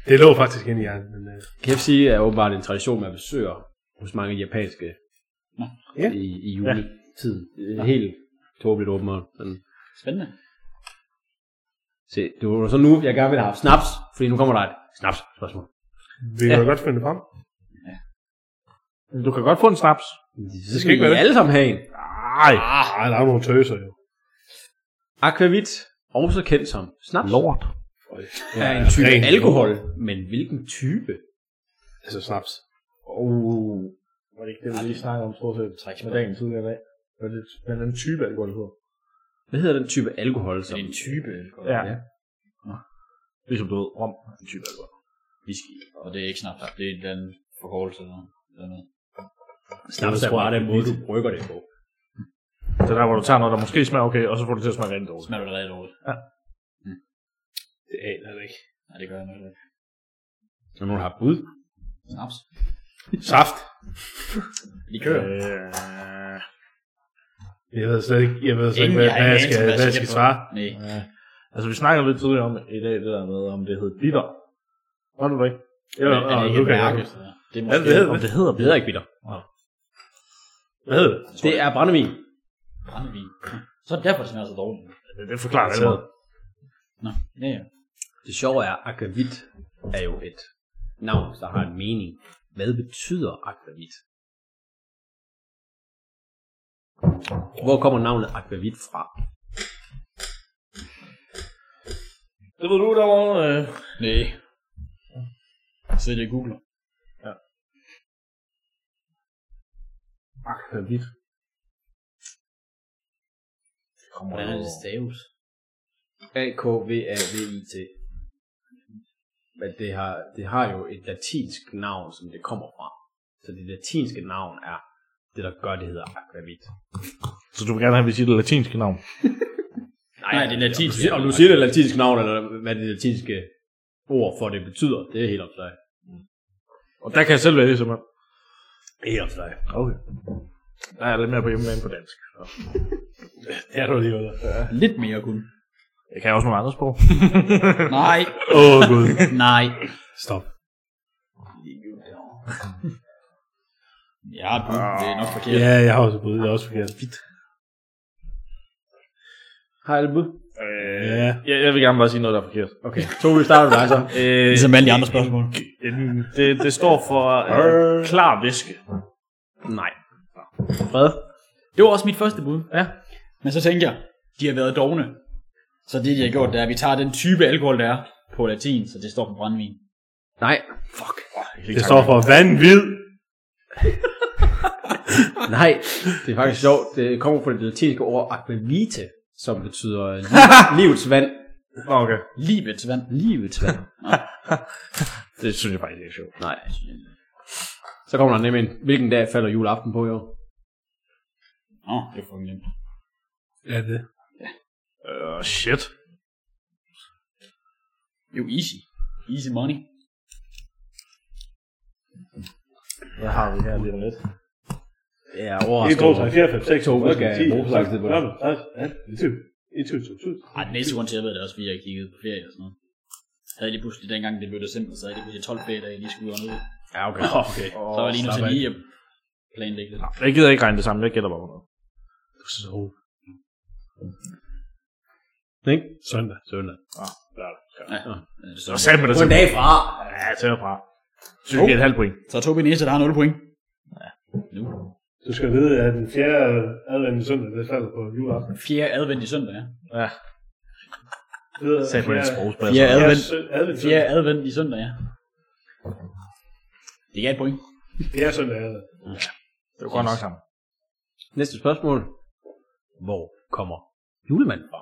Det lå faktisk inde i hjernen. Men, uh,
KFC er åbenbart en tradition, man besøger hos mange japanske
Ja.
i, i juletiden. Ja. Helt tåbeligt åbenbart. Men
Spændende.
se, det var så nu, jeg gerne vil have haft snaps, fordi nu kommer der et snaps spørgsmål.
vi kan ja. godt finde det frem.
Du kan godt få en snaps.
Det skal ikke være alle sammen have en.
Nej.
Ah, Ej, der er nogle tøser jo.
Aquavit, også kendt som snaps,
Lort.
er en type
Ren
alkohol. Men hvilken type?
Altså snaps.
Oh. Var det ikke det, vi lige snakkede om, stort set, med dagen tidligere i dag? Hvad er det, hvad er den type alkohol det hedder?
Hvad hedder den type alkohol?
Det
Som?
er en type.
Ja.
Ja.
ja. Ligesom du ved, rom er en type alkohol.
Whisky. Og det er ikke snaps. Det er en eller anden forkortelse eller eller noget.
Snaps er
tror jeg,
bare den
det er
måde, du brygger det på.
Det er der, hvor du tager noget, der måske smager okay, og så får du det til at smage rent dårligt.
Smager du det rigtig dårligt? Mm.
Det aner jeg ikke.
Nej, det gør jeg nok ikke.
Når nogen har bud.
Snaps.
Saft.
Likør.
Øh,
Jeg ved slet ikke, jeg ved slet ikke
Ingen-
hvad,
jeg har
hvad, jeg
ingen
skal,
anelse om,
hvad jeg
skal
skal
gætte på.
svare.
Nej.
altså, vi snakkede lidt tidligere om i dag, det der med, om det hedder bitter. Var du det ikke?
Jo,
Men er
og
det ikke
nu
et
kan jeg
mærke?
ikke.
så Det er
Hvad
måske...
det hedder
Om
det?
det hedder
Det
bitter.
hedder ikke bitter.
Hvad hedder det?
Det er brændevin.
Brændevin. Så er det derfor, det smager så dårligt.
Det, det forklarer det noget.
Nå, ja, ja.
Det sjove er, at akvavit er jo et navn, der har en mening. Hvad betyder akvavit? Hvor kommer navnet akvavit fra?
Det ved du, der var øh,
Nej. Så det googler.
akvavit. Det kommer
Hvordan er det staves?
A-K-V-A-V-I-T. Men det har, det har jo et latinsk navn, som det kommer fra. Så det latinske navn er det, der gør, det hedder akvavit.
Så du vil gerne have, at vi siger det latinske navn?
Nej, det er latinsk.
Om du siger det latinske navn, eller hvad det latinske ord for det betyder, det er helt op til dig.
Og der kan jeg selv vælge som mand. Ikke også dig. Okay. Der er jeg lidt mere på hjemmebane på dansk. Så. det er du alligevel. Ja.
Lidt mere kun.
Jeg kan også nogle andre sprog.
Nej,
Åh, oh, gud.
nej.
Stop.
Ja, du,
Ah.
det er nok forkert.
Ja, jeg har også bud. Det er også forkert. Fedt.
Har jeg et bud?
Ja. Øh, Jeg, jeg vil gerne bare sige noget, der er forkert. Okay. To, vi starter med dig så. Øh,
Ligesom alle de andre spørgsmål.
en- det, det står for øh, klar væske.
Nej.
Hvad?
Det var også mit første bud.
Ja.
Men så tænker jeg, de har været dogne. Så det, de har gjort, det er, at vi tager den type alkohol, der er på latin, så det står for brændvin.
Nej.
Det står for vanvid.
Nej. Det er faktisk sjovt. Det kommer fra det latinske ord aquavite, som betyder liv- livets vand.
Nå, Okay.
Ah, Livets vand.
Livets vand.
Det synes jeg faktisk ikke er sjovt.
Nej. Så kommer der nemlig en, hvilken dag falder juleaften på i år?
Nå, det er fucking nemt.
Er det? Øh, uh, shit.
Jo, easy. Easy money.
Hvad har vi her lige om lidt?
Det er
1, 2, 3,
overraskende.
4, 5, 6, 7, 8, 9, 10, 11, 12,
brugerslagstid på det.
13, 14, 15, 16, 17,
Ej, den næste grund til, at jeg ved det er også, fordi jeg kiggede på ferie og sådan noget. Havde jeg lige pludselig dengang, det blev december, så havde jeg lige pludselig 12 ferie, da jeg lige skulle ud og møde.
Ja, okay.
Okay.
Så var jeg lige nødt til lige at planlægge det.
øh, Jeg gider ikke regne det sammen. Jeg gætter bare på noget.
Ikke? Søndag. Søndag.
Ja, det
Så
er så.
sagde man det
På en dag fra.
Ja, jeg tager fra. Så jeg giver et halvt point.
så tog vi næste, der har 0 point. Nu.
18. Du skal vide, at den fjerde advendt søndag, det falder på juleaften.
Fjerde advent i søndag, ja.
Ja. Sagde på en sprogspil.
Fjerde advent.
advendt.
Fjerde advent i søndag, ja. Det gav et point.
Fjerde søndag er det.
Det var godt nok sammen.
Næste spørgsmål. Hvor kommer julemanden fra?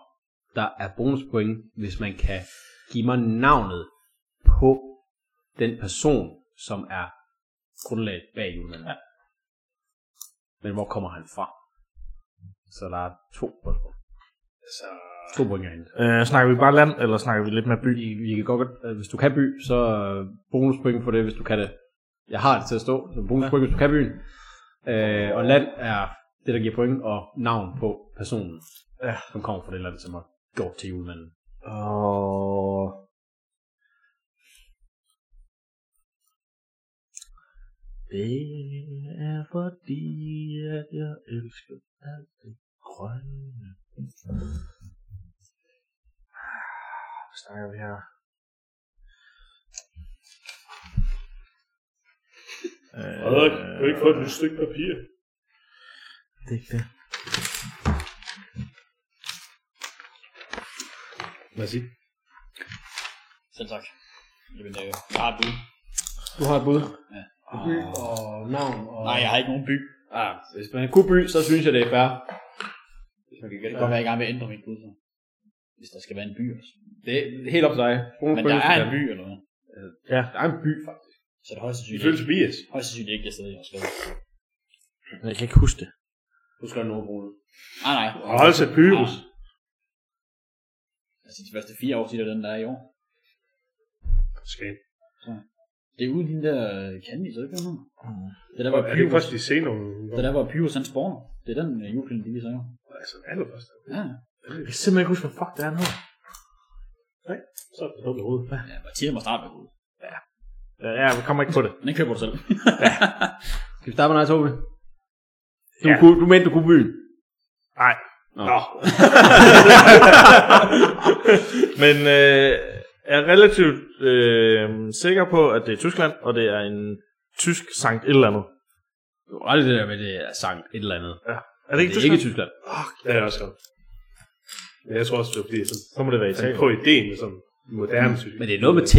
Der er bonuspoint, hvis man kan give mig navnet på den person, som er grundlaget bag julemanden. Ja. Men hvor kommer han fra? Så der er to spørgsmål. Altså, Så... To point herinde.
Øh, snakker vi bare land, eller snakker vi lidt mere by?
by. I, I kan godt, øh, hvis du kan by, så øh, bonuspoint for det, hvis du kan det. Jeg har det til at stå, så bonuspoint, ja. hvis du kan byen. Øh, og land er det, der giver point, og navn på personen,
Ja.
som kommer fra det land, som har gjort til julemanden.
Og... Det er fordi, at jeg elsker alt det grønne. Hvad snakker vi her?
Frederik, kan du ikke få et nyt stykke papir?
Øh, Det er ikke det.
Selv tak. Jamen, øh, jeg har et bud.
Du har et bud?
Ja.
By og navn og...
Nej, jeg har ikke nogen by.
Ah, hvis man kunne by, så synes jeg, det er fair. Hvis man kan
Det
gætte
kan godt være, jeg gerne vil ændre mit bud. så. Hvis der skal være en by også.
Det er helt op til dig.
Men der er en by, eller hvad?
Ja.
Der er en by, faktisk.
Så er det højst sandsynligt
Ifølge
ikke,
Tobias.
højst sandsynligt ikke det sted, jeg har skrevet.
Jeg kan ikke huske det.
Du skal have Nordbroen.
Nej, nej.
Og altså Pyrus.
Altså, de første fire år siger den, der er i år.
Skal.
Det er ude i den der øh, Candy, så det kan man.
Mm.
Det er der,
Og
hvor
Er det ikke
Pyrus,
først de senere?
det er der, hvor Pyrus han spawner. Det er den øh, julefilm, de viser i år.
Altså, allerførst.
Ja.
Jeg kan simpelthen ikke huske, hvad fuck det er nu.
Så er det dumt i hovedet.
ja, Mathias må starte med hovedet.
Ja, jeg kommer ikke på det.
Den køber du selv.
Skal vi starte med dig, Tobi? Du,
Ja.
kunne, du mente, du kunne byen.
Nej.
Nå.
Men øh, er relativt øh, sikker på, at det er Tyskland, og det er en tysk sankt et eller andet.
Du har ret i det der med, det er sankt et eller andet.
Er det ikke
det er
Tyskland?
ikke Tyskland.
Det er også godt. Men jeg tror også, det var fordi, jeg sådan,
Så må det være
fandt
Italien.
på ideen med sådan moderne Tyrkiet.
Men det er noget med T.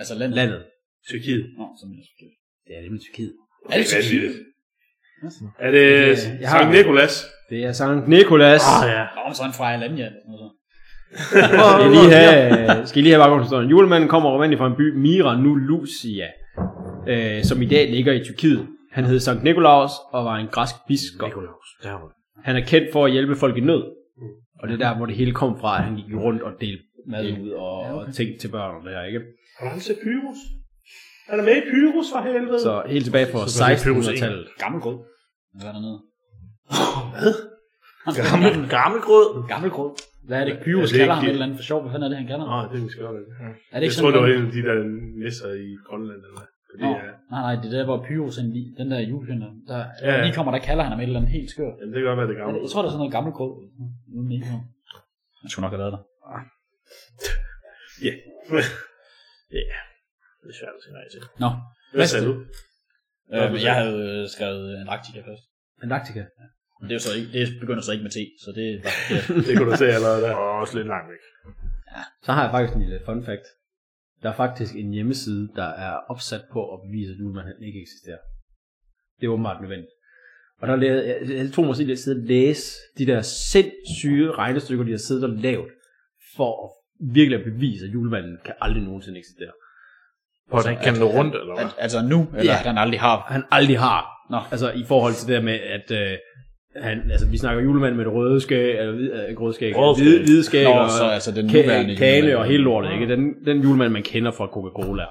altså land.
Landet.
Tyrkiet.
Nå, som jeg skal.
Det er nemlig Tyrkiet.
Er det Tyrkiet?
Er det
Ja, jeg har-
Sankt Nikolas?
Det er Sankt Nikolas.
Ah, ja.
Nå, men så er han fra Alanya. eller sådan noget så.
skal I lige have, skal I lige have baggrundshistorien. Julemanden kommer oprindeligt fra en by, Mira Nulusia, øh, som i dag ligger i Tyrkiet. Han hed Sankt Nikolaus og var en græsk biskop.
Nikolaus. Der var det.
Han er kendt for at hjælpe folk i nød. Og det er der, hvor det hele kom fra, at han gik rundt og delte mad ud og, ja, okay. og ting til børn og det her, ikke?
Har du aldrig set Pyrus?
Han er med i Pyrus for helvede.
Så helt tilbage på
Så var det Pyrus
1600-tallet.
Gammel grød. Hvad er der nede?
Gammel, gammel grød.
Gammel grød. Hvad er det,
Ja,
Pyrus
det er
kalder ham
ikke-
et eller andet for sjov? Hvad fanden er det, han kalder ham?
Åh, det er vi skørt. Ja.
Er det
Jeg
ikke
tror,
sådan
det var
noget?
en af de der nisser i Grønland. Eller hvad. Fordi,
Nå,
ja.
nej, nej, det er der, hvor Pyrus er lige, den der julehøn, der, der
Ja, ja.
lige kommer, der kalder han ham et eller andet helt skørt.
Jamen, det kan godt være, det er
Er
gammel.
det- Jeg tror, det er sådan noget gammel grød. Uden lige nu. Han skulle nok have været der.
Det er svært at sige nej til.
Nå,
Hvad sagde du?
øh,
du
men
sagde-
jeg havde øh, skrevet øh, Antarktika først.
Antarktika.
Mm.
Men Det, er jo så ikke, det begynder så ikke med T, så det var forkert.
Det kunne du se allerede der. Åh, også lidt langt væk.
Så har jeg faktisk en lille fun fact. Der er faktisk en hjemmeside, der er opsat på at bevise, at Julemand ikke eksisterer. Det er åbenbart nødvendigt. Og der lavede, jeg, jeg tog mig selv at sidde og læse de der sindssyge regnestykker, de har siddet og lavet, for at virkelig at bevise, at julemanden kan aldrig nogensinde eksistere.
Hvordan kan du rundt, eller
Al- altså nu, eller
Ja.
ja. han aldrig har.
Han aldrig har.
Nå.
Altså i forhold til det der med, at øh, han, altså, vi snakker julemanden med det røde skæg, eller hvid- øh, ikke røde skæg,
Røde
hvide, hvide skæg,
Nå,
og,
så altså den nuværende
Ka- kane
julemand.
og hele lortet, ikke? Den, den julemand, man kender fra Coca-Cola.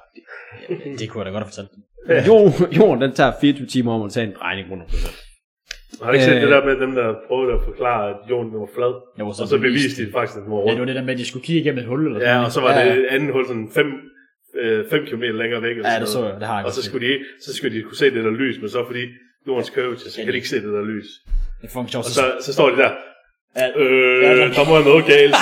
Det kunne jeg da godt have fortalt.
Jo, jorden, den tager 24 timer om at tage en drejning rundt om sig selv.
Har du ikke set
Øh.
det der med dem, der prøvede at forklare, at jorden den var flad?
Jo,
Og så beviste de faktisk, at den var
Ja,
rundt.
det var det der med, at de skulle kigge igennem et hul. Eller
Ja,
sådan
og så var
noget.
det andet hul sådan 5 km længere væk. eller
Ja,
sådan
det så
noget.
jeg. Det har jeg
Og
godt
så
set.
skulle, de, ikke- så skulle de kunne se det der lys, men så fordi jordens curvature, så kan de ikke se det der lys.
Det er fucking sjovt.
Og
Så,
så, så står de der,
ja,
øh,
Ja, så-
der må være noget galt.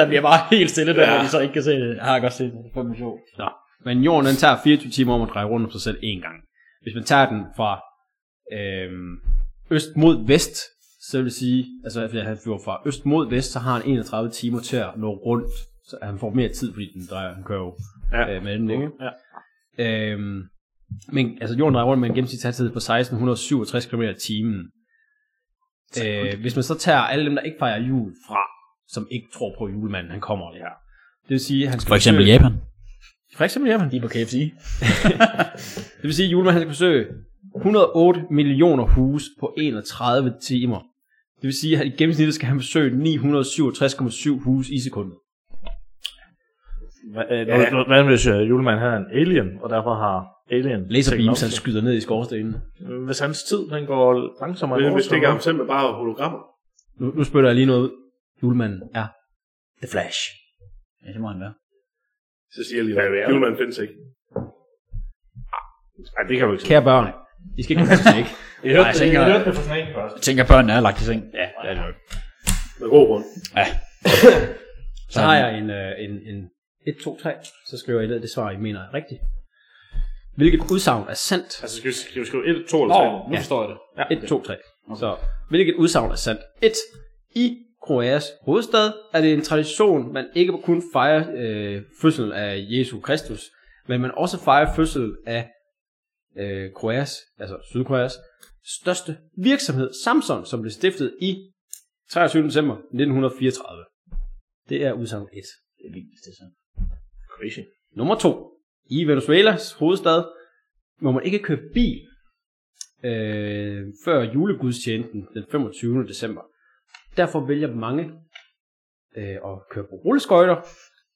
der bliver bare helt stille der,
Ja.
ja. de så ikke kan se det. Jeg har jeg godt set det. Det er fucking sjovt.
Nå. Men jorden, den tager 24 timer om at dreje rundt om sig selv én gang. Hvis man tager den fra øhm, øst mod vest, så vil det sige, altså at han flyver fra øst mod vest, så har han 31 timer til at nå rundt. Så han får mere tid, fordi den drejer, han kører jo ja. øh, mellem, ikke?
Ja.
Øhm, men altså jorden drejer rundt med en gennemsnitshastighed på 1667 km i timen. Øh, hvis man så tager alle dem, der ikke fejrer jul fra, som ikke tror på at julemanden, han kommer lige her. Det vil sige, han skal besøge-
Japan.
For eksempel Japan.
De er på KFC.
Det vil sige, at julemanden skal besøge 108 millioner huse på 31 timer. Det vil sige, at i gennemsnittet skal han besøge 967,7 huse i sekundet.
Hva- øh,
Ja. Hvad hvis uh, julemanden havde en alien, og derfor har alien...
Laserbeams,
altså.
han skyder ned i skorstenen.
Hvis hans tid, den går langsommere
Men hvis det ikke er ham
vores,
selv, men bare hologrammer.
Nu, nu spytter jeg lige noget ud. Julemanden er The Flash.
Ja, det må han være.
Så siger jeg lige, at julemanden findes ikke.
Ah, Ej, det kan du ikke sige.
Kære børn, I skal ikke komme til ikke.
Jeg hørte,
Nej,
det,
jeg tænker-
jeg hørte det fra Snake først.
Jeg tænker, at børnene er lagt i seng. Ja.
Med ro rundt.
Så har jeg en, øh, en, en 1, 2, 3. Så skriver I ned det svar, I mener er rigtigt. Hvilket udsagn er sandt?
Altså, skal vi, skal vi skrive 1, 2
Nå,
eller 3?
nu forstår jeg det.
1, 2, 3. Så hvilket udsagn er sandt? 1. I Kroatias hovedstad er det en tradition, man ikke kun fejrer øh, fødslen af Jesu Kristus, men man også fejrer fødsel af øh, Kroatias, altså Sydkoreas, største virksomhed, Samsung, som blev stiftet i 23. december 1934. Det er udsagn 1.
Det er vildt, hvis det er sådan.
Crazy.
Nummer to. I Venezuelas hovedstad må man ikke købe bil øh, før julegudstjenesten den 25. december. Derfor vælger mange øh, at køre på rulleskøjter,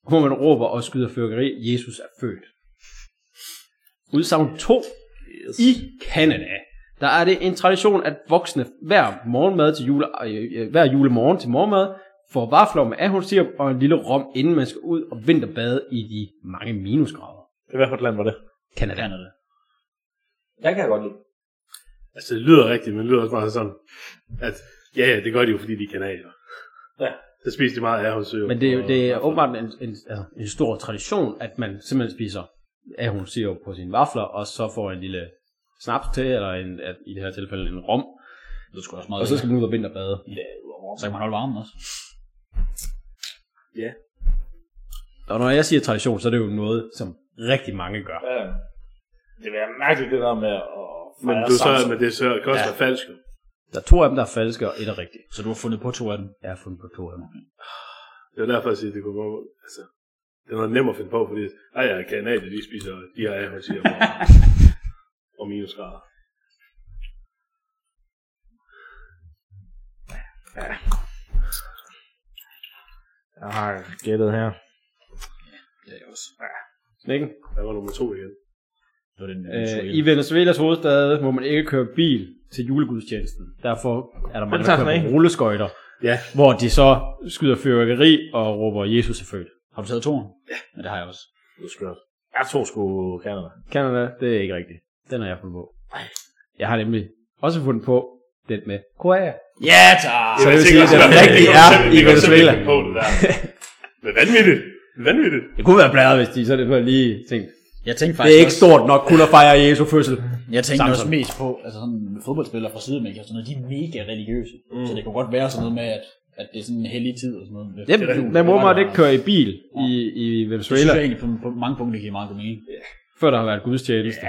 hvor man råber og skyder fyrkeri, Jesus er født. Udsagn 2. Yes. I Kanada, der er det en tradition, at voksne hver, morgenmad til jule, øh, øh, hver julemorgen til morgenmad får vafler med ahornsirup og en lille rom, inden man skal ud og vinterbade i de mange minusgrader.
Hvad for et land var det?
Hvad
Kanada.
er det?
Den kan jeg godt lide.
Altså, det lyder rigtigt, men det lyder også meget sådan, at ja, ja, det gør de jo, fordi de er kanadier.
Ja.
Så spiser de meget af hos
Men det, er jo- det er åbenbart en, en, altså, en stor tradition, at man simpelthen spiser ahornsirup på sine vafler, og så får en lille snaps til, eller en, at i det her tilfælde en rom,
Det er sgu også meget.
og så skal man ud og vinterbade.
så kan man holde varmen også.
Og når jeg siger tradition, så er det jo noget, som rigtig mange gør.
Ja. Det vil være mærkeligt, det der med at
Men,
fejre
du så,
Samson.
men det er så kan også
Ja.
være falsk. jo.
Der er to af dem, der er falske, og et er rigtigt.
Så du har fundet på to af dem.
Jeg har fundet på to af dem.
Det er derfor, jeg siger, det kunne være, altså, det er noget nemt at finde på, fordi ej, jeg er kanadier, de spiser, de har af hos og minusgrader.
Jeg har gættet her.
Ja, jeg også.
Ikke?
Der var nummer to igen.
Det var den,
Øh, I Venezuelas hovedstad må man ikke køre bil til julegudstjenesten. Derfor er der mange, der
tager sådan
kører på
af.
rulleskøjter,
Ja.
hvor de så skyder fyrværkeri og råber, Jesus er født.
Har du taget toren? Ja. Men det har jeg også.
Det er skørt. Jeg tror sgu Canada.
Canada, det er ikke rigtigt. Den har jeg fundet på. Jeg har nemlig også fundet på den med Korea.
Ja,
Ah,
tak!
Så det vil sige, at
tænker
den
også, at
rigtige
det
er
kan
i
man selv- det kan man selv
Venezuela.
finde på, det der. Men vanvittigt. Vanvittigt.
Det kunne være blæret, hvis de så det var lige tænkt.
Jeg tænkte
Det
faktisk
er ikke
også,
stort nok kun at fejre Jesu fødsel.
Jeg tænkte
Samtidig.
også mest på, altså sådan fodboldspillere fra Sydamerika, og sådan noget, de er mega religiøse. Mm. Så det kunne godt være sådan noget med, at, at det er sådan en hellig tid og sådan noget. Det, det,
Jamen, man må meget ikke køre i bil i, i
Det synes
Venezuela,
jeg egentlig på, på mange punkter giver meget god mening.
før der har været gudstjeneste.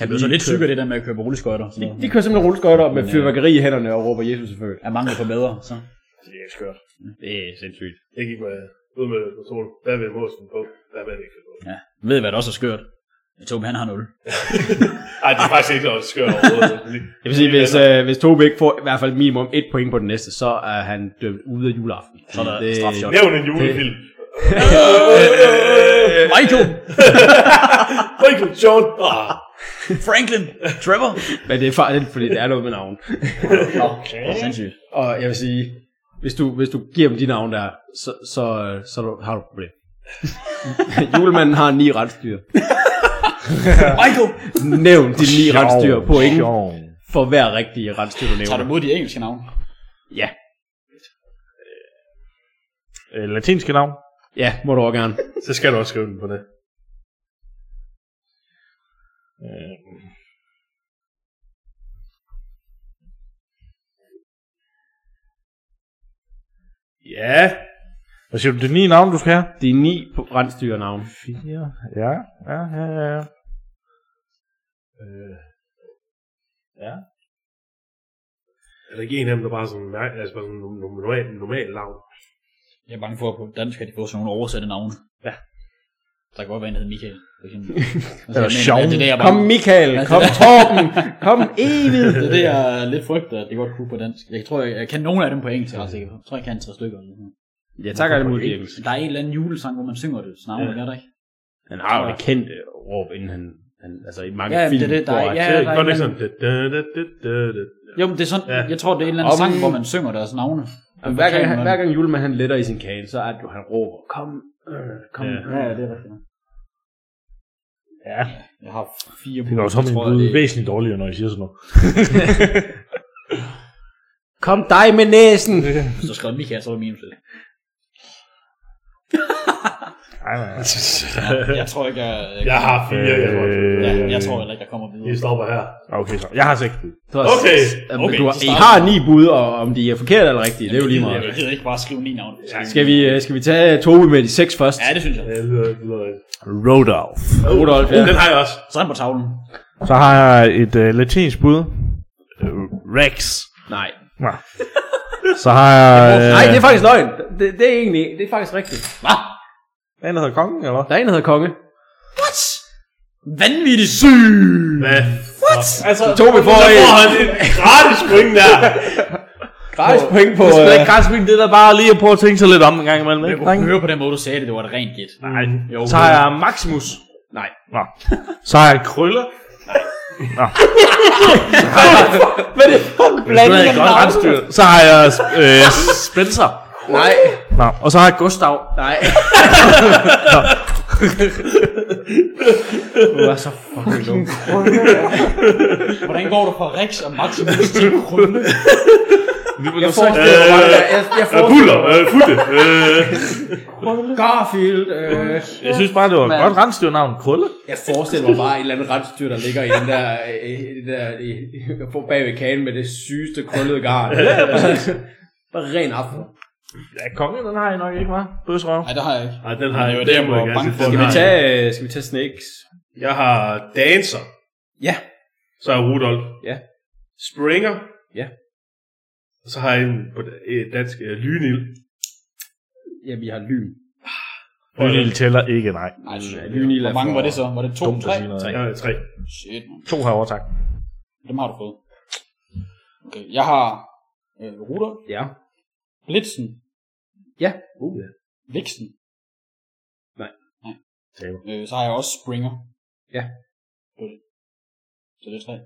Jeg blev så lidt syg af det der med at køre på rulleskøjter.
De, de kører simpelthen rulleskøjter med
Men, øh,
fyrværkeri i hænderne og råber Jesus er født.
er mangel på bedre, så.
Det er skørt.
Det er sindssygt.
Jeg gik med ud med pistolen. Hvad vil Måsen på? Hvad vil han ikke på?
Ja. Ved I, hvad der også er skørt? Tobi, han har 0.
Ej, det er faktisk ikke noget skørt overhovedet.
Jeg vil sige, hvis, øh, hvis Tobe ikke får i hvert fald minimum et point på den næste, så er han dømt ude af juleaften. Så
er der strafshot.
Nævn en julefilm.
Øh!
Øh,
Michael!
Michael John. Ah,
Franklin! Trevor!
Men det er farligt, fordi det er noget med navn.
Okay. Sindssygt.
Og jeg vil sige, hvis du, hvis du giver dem de navn der, så, så, øh, så du- har du et problem. Julemanden har ni rensdyr.
Michael!
Nævn de ni rensdyr på ingen for hver rigtige rensdyr, du
Tager du
nævner.
mod de engelske navne?
Ja,
Øh, latinske navn.
ja, må du også gerne.
så skal du også skrive den på det.
Ja. Hvad siger du, det er ni navn, du skal have?
De ni rensdyrnavn.
Fire. Ja, ja, ja, ja. ja. Øh. Ja.
Er der ikke en af dem, der bare sådan, nej, altså bare sådan norm- norm- normal, normal navn?
Jeg er bange for, at på dansk har de fået sådan nogle oversatte navne.
Ja.
Der kan godt være en, der hedder Michael. For eksempel.
Eller
Men
Sean.
Det er det, jeg
Kom
bare,
Michael, kom Torben, kom Evil.
det er det, jeg lidt frygter, at det godt kunne på dansk. Jeg tror, jeg, jeg kan nogle af dem på engelsk, jeg er ret sikker på. Jeg tror, jeg kan tre stykker. Eller sådan. noget.
Jeg takker det mod James.
Der er en eller anden julesang, hvor man synger det. Snarere, ja. er der ikke?
Han har jo det kendte råb, inden han, han altså i mange
Ja, men
film,
det er det, der er-
hvor han-
ja,
det
der er
er godt
en
ikke
anden-
sådan. Da, da, da, da, da, da.
Jo, men det er sådan, ja.
Ja.
jeg tror, det er en eller anden
Om-
sang, hvor man synger deres navne.
Jamen, hver, gang, han- hver gang julemanden han letter i sin kage, så er det jo, han råber, kom, øh, kom.
Ja.
Ja, ja, det er rigtigt.
Ja.
Jeg har fire
Det går jo så
jeg
min
tror,
bud
det,
væsentligt dårligere, når I siger sådan noget.
Kom dig med næsen.
Hvis du skrev Michael, så var det minus et.
Ej, nej, nej.
Jeg tror ikke, jeg... Jeg,
Jeg har fire, jeg tror.
Øh.
ja, jeg tror heller ikke, jeg kommer videre.
Vi stopper her.
Okay, så. Jeg har seks bud.
Du har,
Okay,
Jamen,
okay,
du har,
de
I
starter.
har ni bud, og om de er forkerte eller rigtige, det er jo lige meget.
Jeg gider ikke bare skrive ni navne.
Skal vi, øh, skal vi tage Tobi med de seks først?
Ja, det synes jeg.
Ja, det lyder- det lyder-
Rodolf.
Rudolf, ja.
Den har jeg også.
Så er han på tavlen.
Så har jeg et øh, latinsk bud. Øh, Rex.
Nej.
Så har jeg... Øh,
Nej, det er faktisk løgn. Det, det, er egentlig, det er faktisk rigtigt.
En, der hedder kongen, eller hvad?
Der er en, der hedder konge.
Vanvittigt syg!
Hvad?
Altså, Tobi får
Så får han en gratis point der.
Gratis point på...
Det er sgu da
Øh,
ikke gratis, men det er da bare lige at prøve at tænke sig lidt om en gang imellem.
Jeg
Ikke?
kunne
drenge?
høre på den måde, du sagde det, det var et rent gæt.
Nej.
Jo,
Mhm. Så har jeg Maximus.
nej.
Nå. Så har jeg Krøller.
Hvad er det for en blanding af navne?
Så har jeg øh, Spencer.
Nej.
Nå. Og så har jeg Gustav.
Nej. du er så fucking dum.
Hvordan går du fra Rex og Maximus til Krølle?
Jeg forestiller mig,
Øh,
jeg, jeg, jeg
Øh,
forestiller
Buller, øh, futte. Øh,
Garfield. Øh,
Jeg synes bare, det var et
Mand.
godt rensdyrnavn. Krølle.
jeg forestiller mig bare en eller anden rensdyr, der ligger i den der, øh, i den der i, på bag ved kagen med det sygeste krøllede garn. Bare ren aften.
Ja, kongen, den har jeg nok ikke, hva'? Bøsrøv.
Nej, det har jeg ikke.
Ej, den har
Det
jeg
var
den
der,
må
hvor
jeg gerne
bange
sige,
for,
den
at
Skal vi
har
tage, øh, skal vi tage snakes?
jeg. Jeg har Dancer.
Ja.
Så har jeg Rudolf.
Ja.
Springer.
Ja.
Og så har jeg en på et dansk øh, Lynil.
Ja, vi har lyn.
Lynil tæller ikke, nej.
Nej, det synes jeg
Lynil
ikke.
er
Hvor mange
for-
var det så? Var det to,
Dumt at
tre?
sige noget.
Jeg har tre.
Shit, man.
To herovre, tak.
Dem har du fået. Okay, jeg har øh, Ruder,
Ja.
Blitzen,
Ja.
Vixen.
Nej.
Nej.
Taber.
Øh, så har jeg også Springer. Så det er tre.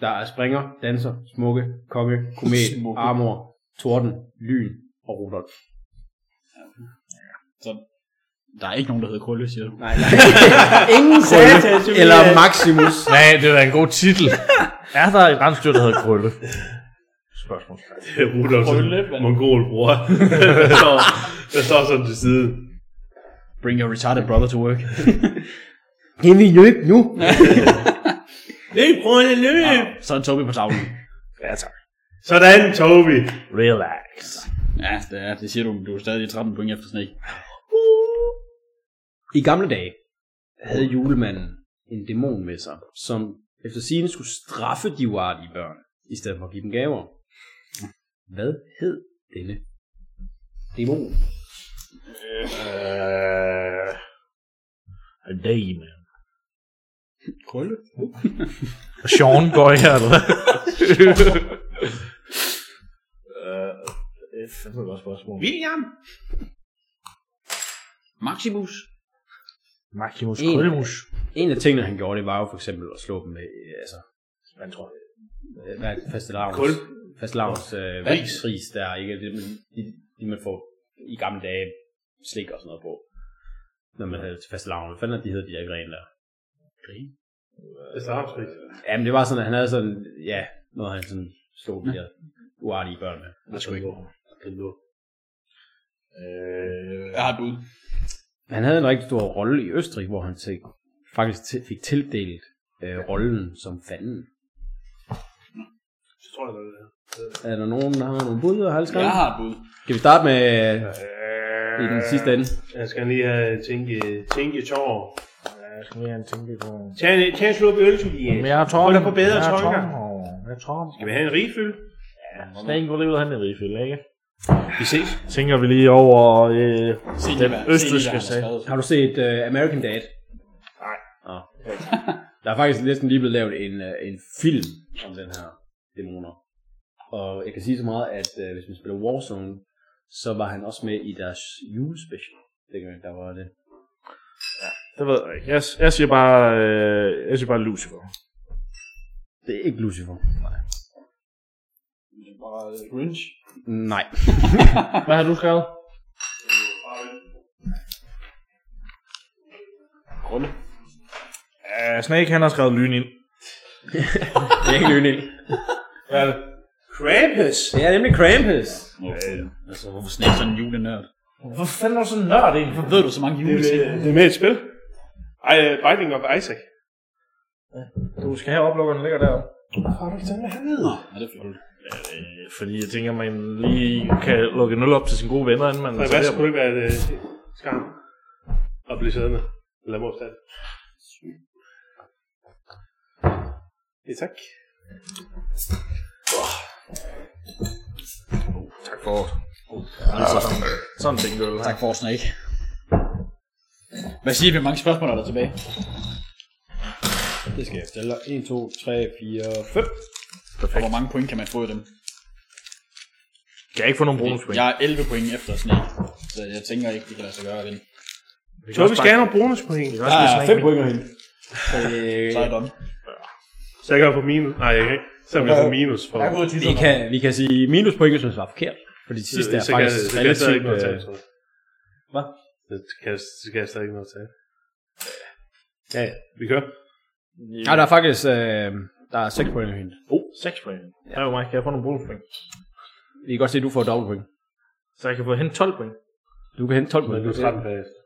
Der er springer, danser, smukke, konge, komet,
Smukke.
armor, torden, lyn og Rudolf.
Der er ikke nogen, der hedder Krølle, siger du.
Nej, nej. Ingen Krølle eller Maximus.
Nej, det var en god titel. er der et rensdyr, der hedder Krølle? Spørgsmål.
Det er Rudolf,
mand.
mongol bror. der, står, der står sådan til siden.
Bring your retarded brother to work.
Kan vi løbe nu?
Løb, bror, løb!
Nå, så er Tobi på tavlen.
Sådan, Tobi.
Relax.
Ja, det, er, det siger du, men du er stadig 13 point efter sne.
I gamle dage havde julemanden en dæmon med sig, som efter sigende skulle straffe de uartige børn, i stedet for at give dem gaver. Hvad hed denne dæmon?
Øh... A day, man.
Krølle?
Sean går her, eller hvad?
Det er fandme et godt spørgsmål.
William! Maximus?
Maximus
En.
Krøllemus.
En af tingene, han gjorde, det var jo for eksempel at slå dem med, øh, altså,
Man tror.
øh, hvad er det, fastelavns,
Kul.
fastelavns øh,
Ris.
ris. ris, der er ikke det, man, de, de, man får i gamle dage slik og sådan noget på, når man havde til fastelavn. Hvad fanden er de hedder, de der grene der?
Det er startspil.
Jamen, det var sådan, at han havde sådan, ja, noget han sådan slog de her uartige børn med.
Det er sgu ikke.
Øh,
Jeg har et bud.
Han havde en rigtig stor rolle i Østrig, hvor han til, faktisk til, fik tildelt øh, rollen som fanden.
Så tror jeg, det er det.
Er der nogen, der har nogle bud og halskab?
Jeg har et bud.
Kan vi starte med øh, i den sidste ende?
Jeg skal lige have tænke, tænke tårer.
jeg skal lige have en tænke på...
Tag en, tag en slurp øl, Tobias.
Men jeg har Torben.
Prøv da at forbedre
Jeg er
tolker.
tom. og Jeg er tom.
Skal vi have en rigfyld?
Snakken går lige ud af han i Rigfjell, ikke?
Vi ses.
Tænker vi lige over øh,
Se lige,
den
hvad- se lige, hvad han
østrigske
har
sag.
skrevet.
Har du set øh, American Dad? Nej. Oh. Der er faktisk næsten lige blevet lavet en, øh, en film om den her dæmoner. Og jeg kan sige så meget, at øh, hvis man spiller Warzone, så var han også med i deres julespecial. Dengang der var det.
Det ved jeg ikke. Jeg, jeg siger bare, øh, jeg siger bare Lucifer.
Det er ikke Lucifer. Nej.
Det er Bare øh, Grinch.
Nej.
Hvad har du skrevet?
Krølle.
Uh, Snake, han har skrevet lyn ind.
Det er ikke Lynild.
Hvad er det?
Krampus.
Det er nemlig Krampus.
Altså, hvorfor snækker sådan en julenørd?
Hvor fanden er du så nørd egentlig?
Hvorfor ved du så mange juleting?
Det er med et spil. Ej, uh, Binding of Isaac.
Du skal have oplukkeren, ligger deroppe.
Ja, det er flot.
Øh, fordi jeg tænker, man lige kan lukke nul op til sine gode venner, inden man...
Nej, hvad skulle det ikke være et uh, skam at blive siddende? Lad mig opstande. Ja, tak.
Tak for ordet. Sådan tænker du.
Tak for snak. Hvad siger vi, hvor mange spørgsmål er der tilbage?
Det skal jeg fortælle dig. 1, 2, 3, 4, 5.
Og hvor mange point kan man få i dem?
Kan jeg ikke få nogen bonuspoint?
Jeg er 11 point efter Snake, så jeg tænker ikke, det kan lade sig gøre igen.
Så vi skal have nogle bonuspoint.
Ah,
Der er 5 point hende.
Øh,
Så er jeg done.
Så jeg kan få minus. Nej, jeg kan ikke. Så kan jeg få minus for.
vi, kan, vi kan sige minuspoint, hvis man svarer forkert. Fordi det sidste er
Øh, Så kan jeg-
faktisk
så kan jeg
relativt...
stadig ikke noget
øh,
tage, tror jeg. øh,
hvad?
Så kan jeg- Så kan jeg stadig ikke noget tage.
øh,
Ja, ja. Vi kører.
Nej, der er faktisk... Øh, der er 6 point hende.
Oh, 6 point. Ja. Der er jo mig. Kan jeg få nogle bonuspoint?
Vi kan godt se, at du får dobbelt point.
Så jeg kan få hen 12 point.
Du kan hente 12 point.
Du er 13 bagefter.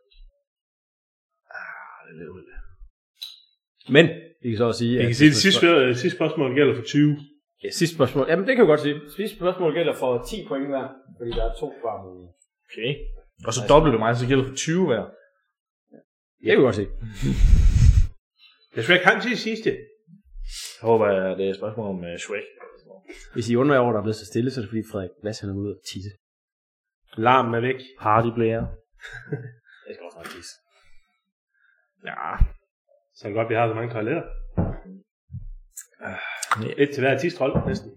Men vi kan så også sige...
Jeg
at-
kan sige, at det sidste, øh, sidste spørgsmål gælder for 20.
Ja, sidste spørgsmål. Jamen, det kan vi godt sige. Sidste spørgsmål gælder for 10 point hver, fordi der er to svar mulige.
Okay. Og så dobbelt det mig, så gælder det for 20 hver.
Det kan vi godt se.
Jeg skal ikke have til sidste.
Jeg håber, at det er et spørgsmål om uh, Shrek.
Hvis I undrer jer over, at der er blevet så stille, så er det fordi Frederik Vas han er ude og tisse.
Larmen er væk.
Party player.
Jeg skal også nok tisse.
Ja.
Så er det godt, vi har så mange toiletter.
Ah,
Et til hver tidstrold, næsten.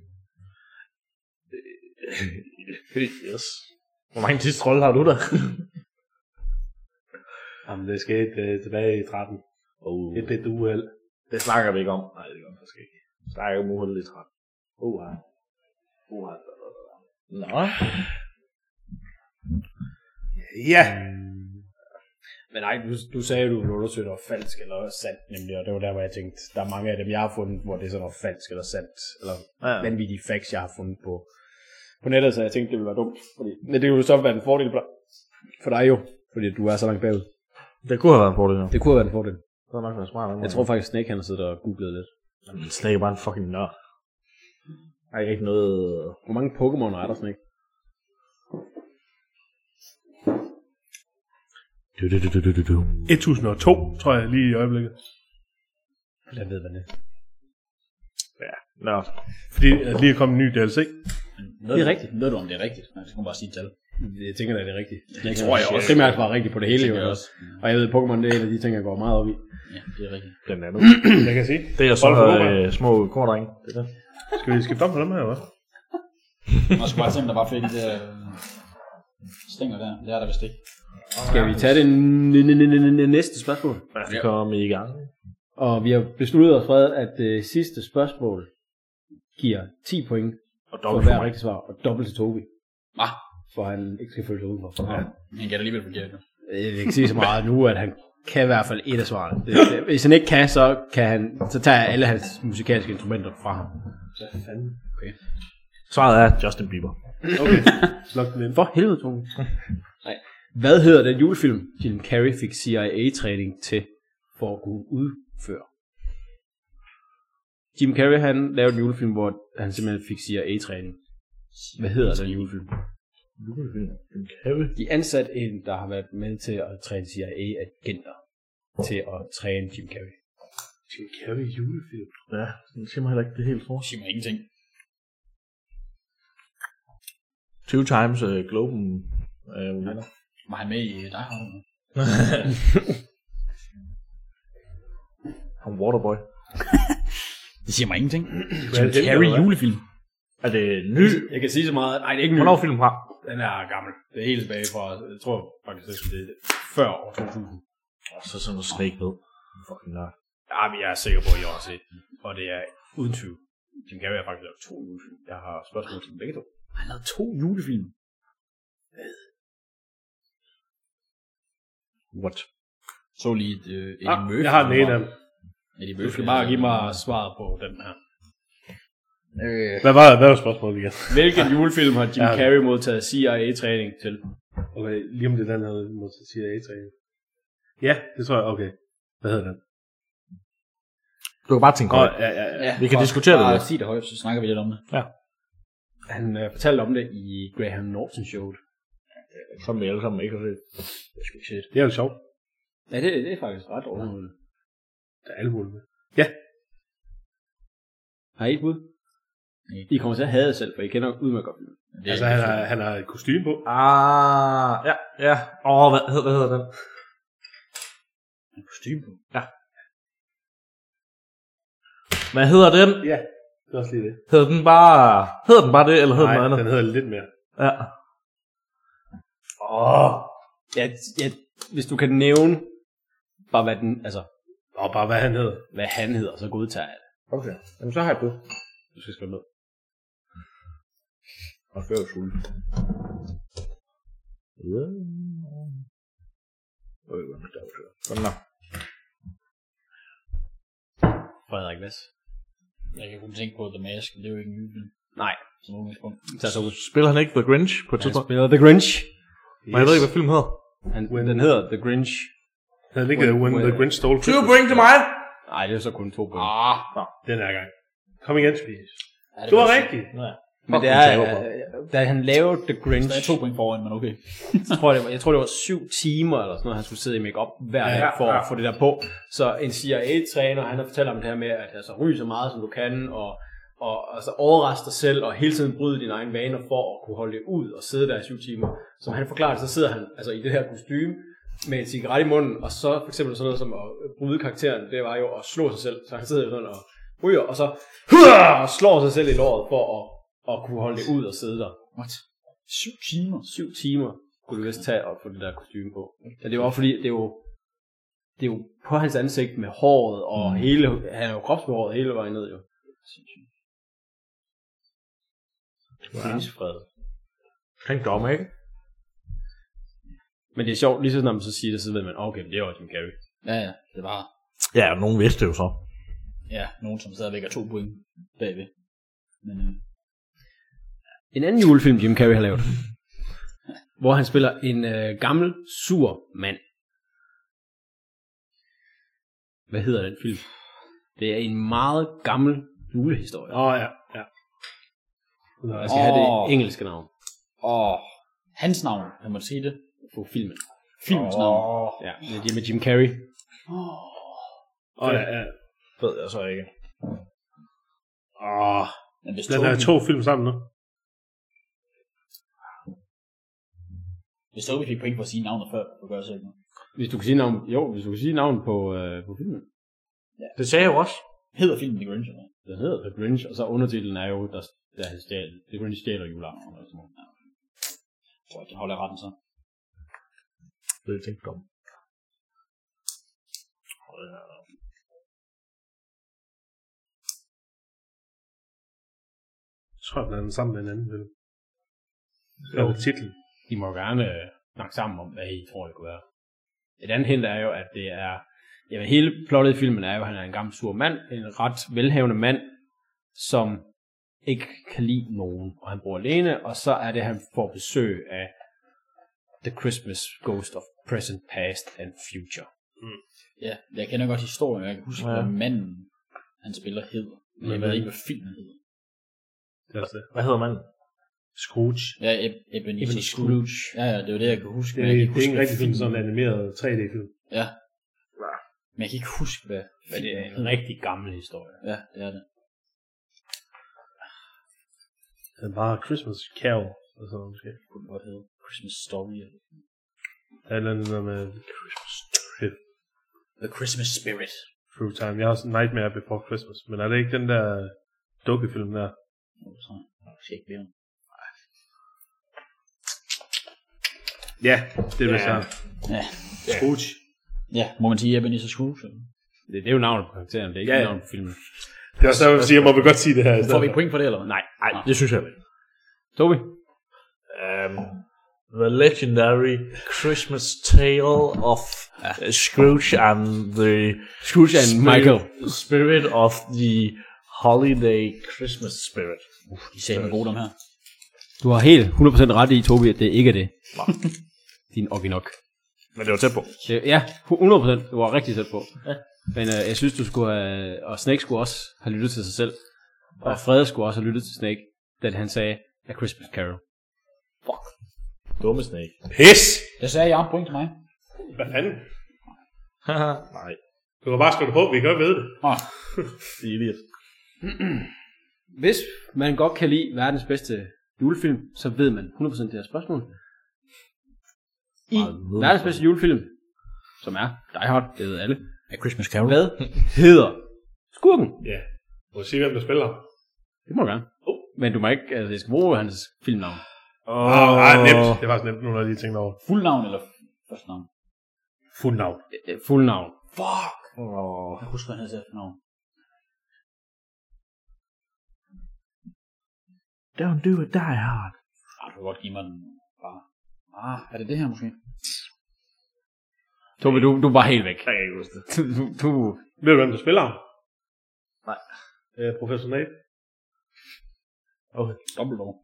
yes. Hvor mange tids trolde har du der?
Jamen, det skete øh, tilbage i 13.
Uh.
Oh.
Et lidt uheld.
Det snakker vi ikke om. Nej, det gør vi faktisk ikke. Vi snakker om uheld lidt træt. Uha. Uha. Nå. Ja.
Men nej, du, du sagde, du undersøgte, om falsk eller sandt, nemlig, og det var der, hvor jeg tænkte, der er mange af dem, jeg har fundet, hvor det er sådan noget falsk eller sandt, eller
Ja.
vanvittige facts, jeg har fundet på, på nettet, så jeg tænkte, det ville være dumt. Fordi, men det ville jo så være en fordel for dig, for dig jo, fordi du er så langt bagud.
Det kunne have været en fordel, jo.
Det kunne have været en fordel.
Det var nok været smart.
Jeg tror faktisk, Snake han har siddet og googlet lidt.
Jamen, Snake er bare en fucking nørd. Der er ikke rigtig noget...
Hvor mange Pokémon er der, Snake?
Du, du, du, du, du, du.
1002, tror jeg, lige i øjeblikket.
Jeg ved, hvad det er.
Nørd.
Fordi at lige er kommet en ny DLC.
Ved, det er rigtigt. Ved du, om det er rigtigt? Nej, det skal man bare sige et tal.
Jeg tænker, da, det er rigtigt.
Det tror jeg også.
Primært var rigtigt på det hele, jo.
Det er
Også. Og jeg ved, Pokémon, det er en af de ting, jeg går meget op i.
Ja, det er rigtigt.
Blandt andet.
Jeg kan sige.
Det er så
Bold for Europa.
øh, små kordrenge. Det er det.
Skal vi skifte om på dem her, hva'?
Man skal bare se, om der bare fik det der øh, stænger der. Det er der vist ikke.
Skal vi tage det n- n- n- n- n- næste spørgsmål?
Ja, vi kommer i gang.
Og vi har besluttet os for, at det sidste spørgsmål giver 10 point
Og
for
dobbelt for
hver
mig.
rigtigt svar, og dobbelt til Tobi.
Hva?
For han ikke skal føle sig udenfor. Ja.
Han kan alligevel forkert. nu.
Jeg vil ikke sige så meget nu, at han kan i hvert fald et af svarene. Det, det, hvis han ikke kan, så, kan han, så tager jeg alle hans musikalske instrumenter fra ham.
Svaret er Justin Bieber.
For helvede, Tone. Nej. Hvad hedder den julefilm, Jim Carrey fik CIA-træning til for at kunne udføre? Jim Carrey, han lavede en julefilm, hvor han simpelthen fik CIA-træning. Hvad hedder den julefilm?
Den kæve.
De ansat en, der har været med til at træne CIA-agenter til at træne Jim Carrey.
Den kæve julefilm. Ja, den siger mig heller ikke det helt for.
Sig mig ingenting.
20 times uh, Globen. Øh, vinder.
Var han med i øh, Die Hard?
Han Waterboy.
Det siger mig ingenting. Jim Carrey julefilm.
Er det ny?
Jeg kan sige så meget, nej, det er ikke
Hvornår er filmen fra?
Den er gammel. Det er helt tilbage fra, jeg tror faktisk, det er før år 2000.
Og så sådan noget Snake ved. Fucking nørd.
Ja, men jeg er sikker på, at jeg har set den. Og det er uden tvivl. Jim Carrey har faktisk lavet to julefilm. Jeg har spørgsmål til dem begge to.
Han lavede to julefilm.
What?
Så lige et øh, Eddie
Ah,
Murphy.
jeg har den ene af dem.
Eddie
Du
Murphy.
skal bare give mig svaret på den her.
Øh,
Hvad var, hvad var spørgsmålet igen?
Hvilken julefilm har Jim Carrey modtaget CIA-træning til?
Okay, lige om det er den, havde mod CIA-træning. Ja, det tror jeg, okay. Hvad hedder den?
Du kan bare tænke
Åh,
over det.
ja, ja, ja.
ja,
Vi kan
bare-
diskutere det
bare
lidt.
Sig det højt, så snakker vi lidt om det.
Han øh, fortalte om det i Graham Norton showet.
Som vi alle sammen ikke har set.
Det er jo sjovt.
Ja, det, det er faktisk ret overhovedet.
Der er alle mulige.
Har I et bud?
Nej.
I kommer til at hade jer selv, for I kender udmærket godt. filmen.
Det er
Altså,
ikke
han
så-
har, han har et kostume på.
Ah, ja, ja. Åh, oh, hvad, hed- hvad hedder den?
kostume på.
Hvad hedder den?
Det er også lige det.
Hedder den bare... Hedder den bare det, eller hedder den noget
Nej,
andet?
den hedder lidt mere.
Ja. Åh.
Ja, ja, hvis du kan nævne, bare hvad, den, altså,
Og bare hvad han hed.
hvad han hedder, så godtager jeg det.
Okay. Jamen, så har jeg bud. Du skal skrive ned. Og før jeg skulle. Ja. Øh, hvor er det, der er jo Sådan der.
Frederik Vest.
Jeg kan kun tænke på The Mask, det er jo ikke en julefilm.
Nej.
Som udgangspunkt.
Så så
Spiller han ikke The Grinch på et
Han
tidspunkt?
spiller The Grinch.
Men jeg ved ikke, hvad filmen hedder.
Han, den hedder The Grinch.
Han hedder ikke uh,
When-
When, When the
When-
Grinch Stole
Two
Christmas.
bring to mig!
Nej, det er så kun to point.
Ah,
Den her gang. Kom igen, Tobias.
ja, det
Du var
godt.
rigtig.
Men det er, øh, da han lavede The Grinch,
Der er to point foran, men okay.
jeg tror, det var, jeg tror, det var syv timer eller sådan noget, han skulle sidde i makeup hver dag for at få det der på. Så en CIA-træner, han har fortalt om det her med, at altså, ryge så meget, som du kan, og, og altså, overraske dig selv, og hele tiden bryde dine egne vaner for at kunne holde det ud og sidde der i syv timer. Som han forklarer det, så sidder han altså, i det her kostume med en cigaret i munden, og så for eksempel sådan noget som at bryde karakteren, det var jo at slå sig selv. Så han sidder jo sådan og ryger, og så og slår sig selv i låret for at, at kunne holde det ud og sidde der.
What? Syv timer?
Syv timer kunne det vist tage at få det der kostume på. Ja, det var fordi, det var det er jo på hans ansigt med håret, og mm. hele, han er jo kropsbehåret hele vejen ned, jo. Fred.
Han dommer, ikke?
Men det er sjovt, lige så snart man så siger det, så ved man, okay, men det er jo Jim Carrey.
Ja, ja, det var
Ja, og nogen vidste det jo så.
ja, nogen, som stadigvæk er to point bagved. Men øh,
En anden julefilm, Jim Carrey har lavet, hvor han spiller en øh, gammel, sur mand. Hvad hedder den film? Det er en meget gammel julehistorie.
Åh, oh, ja. ja.
Jeg skal have
Åh.
det engelske navn
og hans navn, kan man sige det.
på filmen.
Filmens navn.
Ja, det er det med Jim Carrey.
Åh, ja, ja.
Ved jeg så ikke.
Åh,
Men hvis
Der
Tobi,
er to film sammen nu.
hvis Tobi fik point for at sige navnet før, så gør jeg sikkert.
Hvis du kan sige navn, jo, hvis du kan sige navn på, øh, på filmen.
Det sagde jeg jo også.
Hedder filmen The Grinch, eller?
Den hedder The Grinch, og så undertitlen er jo, der, der han stjæl, The Grinch stjæler juleaften. eller sådan noget.
Jeg tror, det holder jeg retten så.
Det er tænkt om.
Jeg tror, den er den sammen med en anden film. Det er titlen.
I må jo gerne øh, snakke sammen om, hvad I tror, det kunne være. Et andet hint er jo, at det er... Jamen, hele plottet i filmen er jo, at han er en gammel sur mand, en ret velhavende mand, som ikke kan lide nogen, og han bor alene, og så er det, at han får besøg af The Christmas Ghost of Present, Past and Future.
Ja, jeg kender godt historien, og jeg kan huske, ja. hvad manden, han spiller, hedder. Men jeg ved ikke, hvad filmen hedder.
Det er også det.
Hvad hedder manden?
Scrooge.
Ja, Eb- Ebenezer,
Ebenezer
Ebenezer
Scrooge.
Scrooge. Ja, ja, det var det, jeg kunne huske.
Det,
men jeg kan ikke
det er
huske,
ikke
hvad
rigtig film,
filmen-
sådan en animeret 3D-film.
Ja. Men jeg kan ikke huske, hvad
Men det er
filmen
en rigtig gammel historie.
hedder. Ja, det er det.
Den var Christmas Carol. Og sådan noget, måske.
Det kunne den godt hedde. Christmas Story. Eller...
Der er et eller andet der med Christmas Trip
The Christmas Spirit.
Through Time. Jeg har også Nightmare Before Christmas. Men er det ikke den der dukkefilm der?
Nå, så skal ikke blive.
Ja, det er vist ja.
Ja.
Scrooge.
ja, må man sige Ebenezer Scrooge? Eller?
Det, det er jo navnet på karakteren, det er ikke
Ja,
ja,
ja.
navnet på filmen.
Det er også derfor, jeg siger, må vi godt sige det her. i
Får
stedet
vi et point for det, eller hvad?
Nej,
Nej, det synes jeg ikke.
Tobi?
Um, the legendary Christmas tale of uh, Scrooge and the
Scrooge and
spirit-
Michael.
spirit of the holiday Christmas spirit.
De sagde med gode dem her.
Du har helt 100% ret i, Tobi, at det ikke er det. Din Oginok.
Men det var tæt på.
Det- Ja, 100%. Du var rigtig tæt på. Ja. Men øh, jeg synes, du skulle have, og Snake skulle også have lyttet til sig selv. Og Frede skulle også have lyttet til Snake, da han sagde, A Christmas Carol.
Dumme snake.
Pis!
Det sagde jeg, point til mig.
Hvad fanden?
Nej,
Du kan bare skrive det på, vi kan godt vide det.
Åh,
det er idiot.
Hvis man godt kan lide verdens bedste julefilm, så ved man 100% det her spørgsmål. I verdens bedste julefilm, som er Die Hard, det ved alle.
A Christmas Carol.
Hvad hedder skurken?
Ja. Må jeg sige, hvem der spiller?
Det må du gerne. Men du må ikke, altså jeg skal bruge hans filmnavn.
Åh, oh. ah, nemt. Det var faktisk nemt, nu når jeg lige tænkte over.
Fuld navn eller første navn?
Fuld navn.
Øh, Fuld navn.
Fuck! Jeg kan huske, hvad han havde sagt navn.
Don't do it, die hard.
Ah, du kan godt give mig den bare. Ah, er det det her måske?
Tobi, du, du var helt væk.
Jeg kan ikke huske det.
Du, du,
Ved du, hvem der spiller ham? Nej. Øh, professor Snape?
Dumbledore.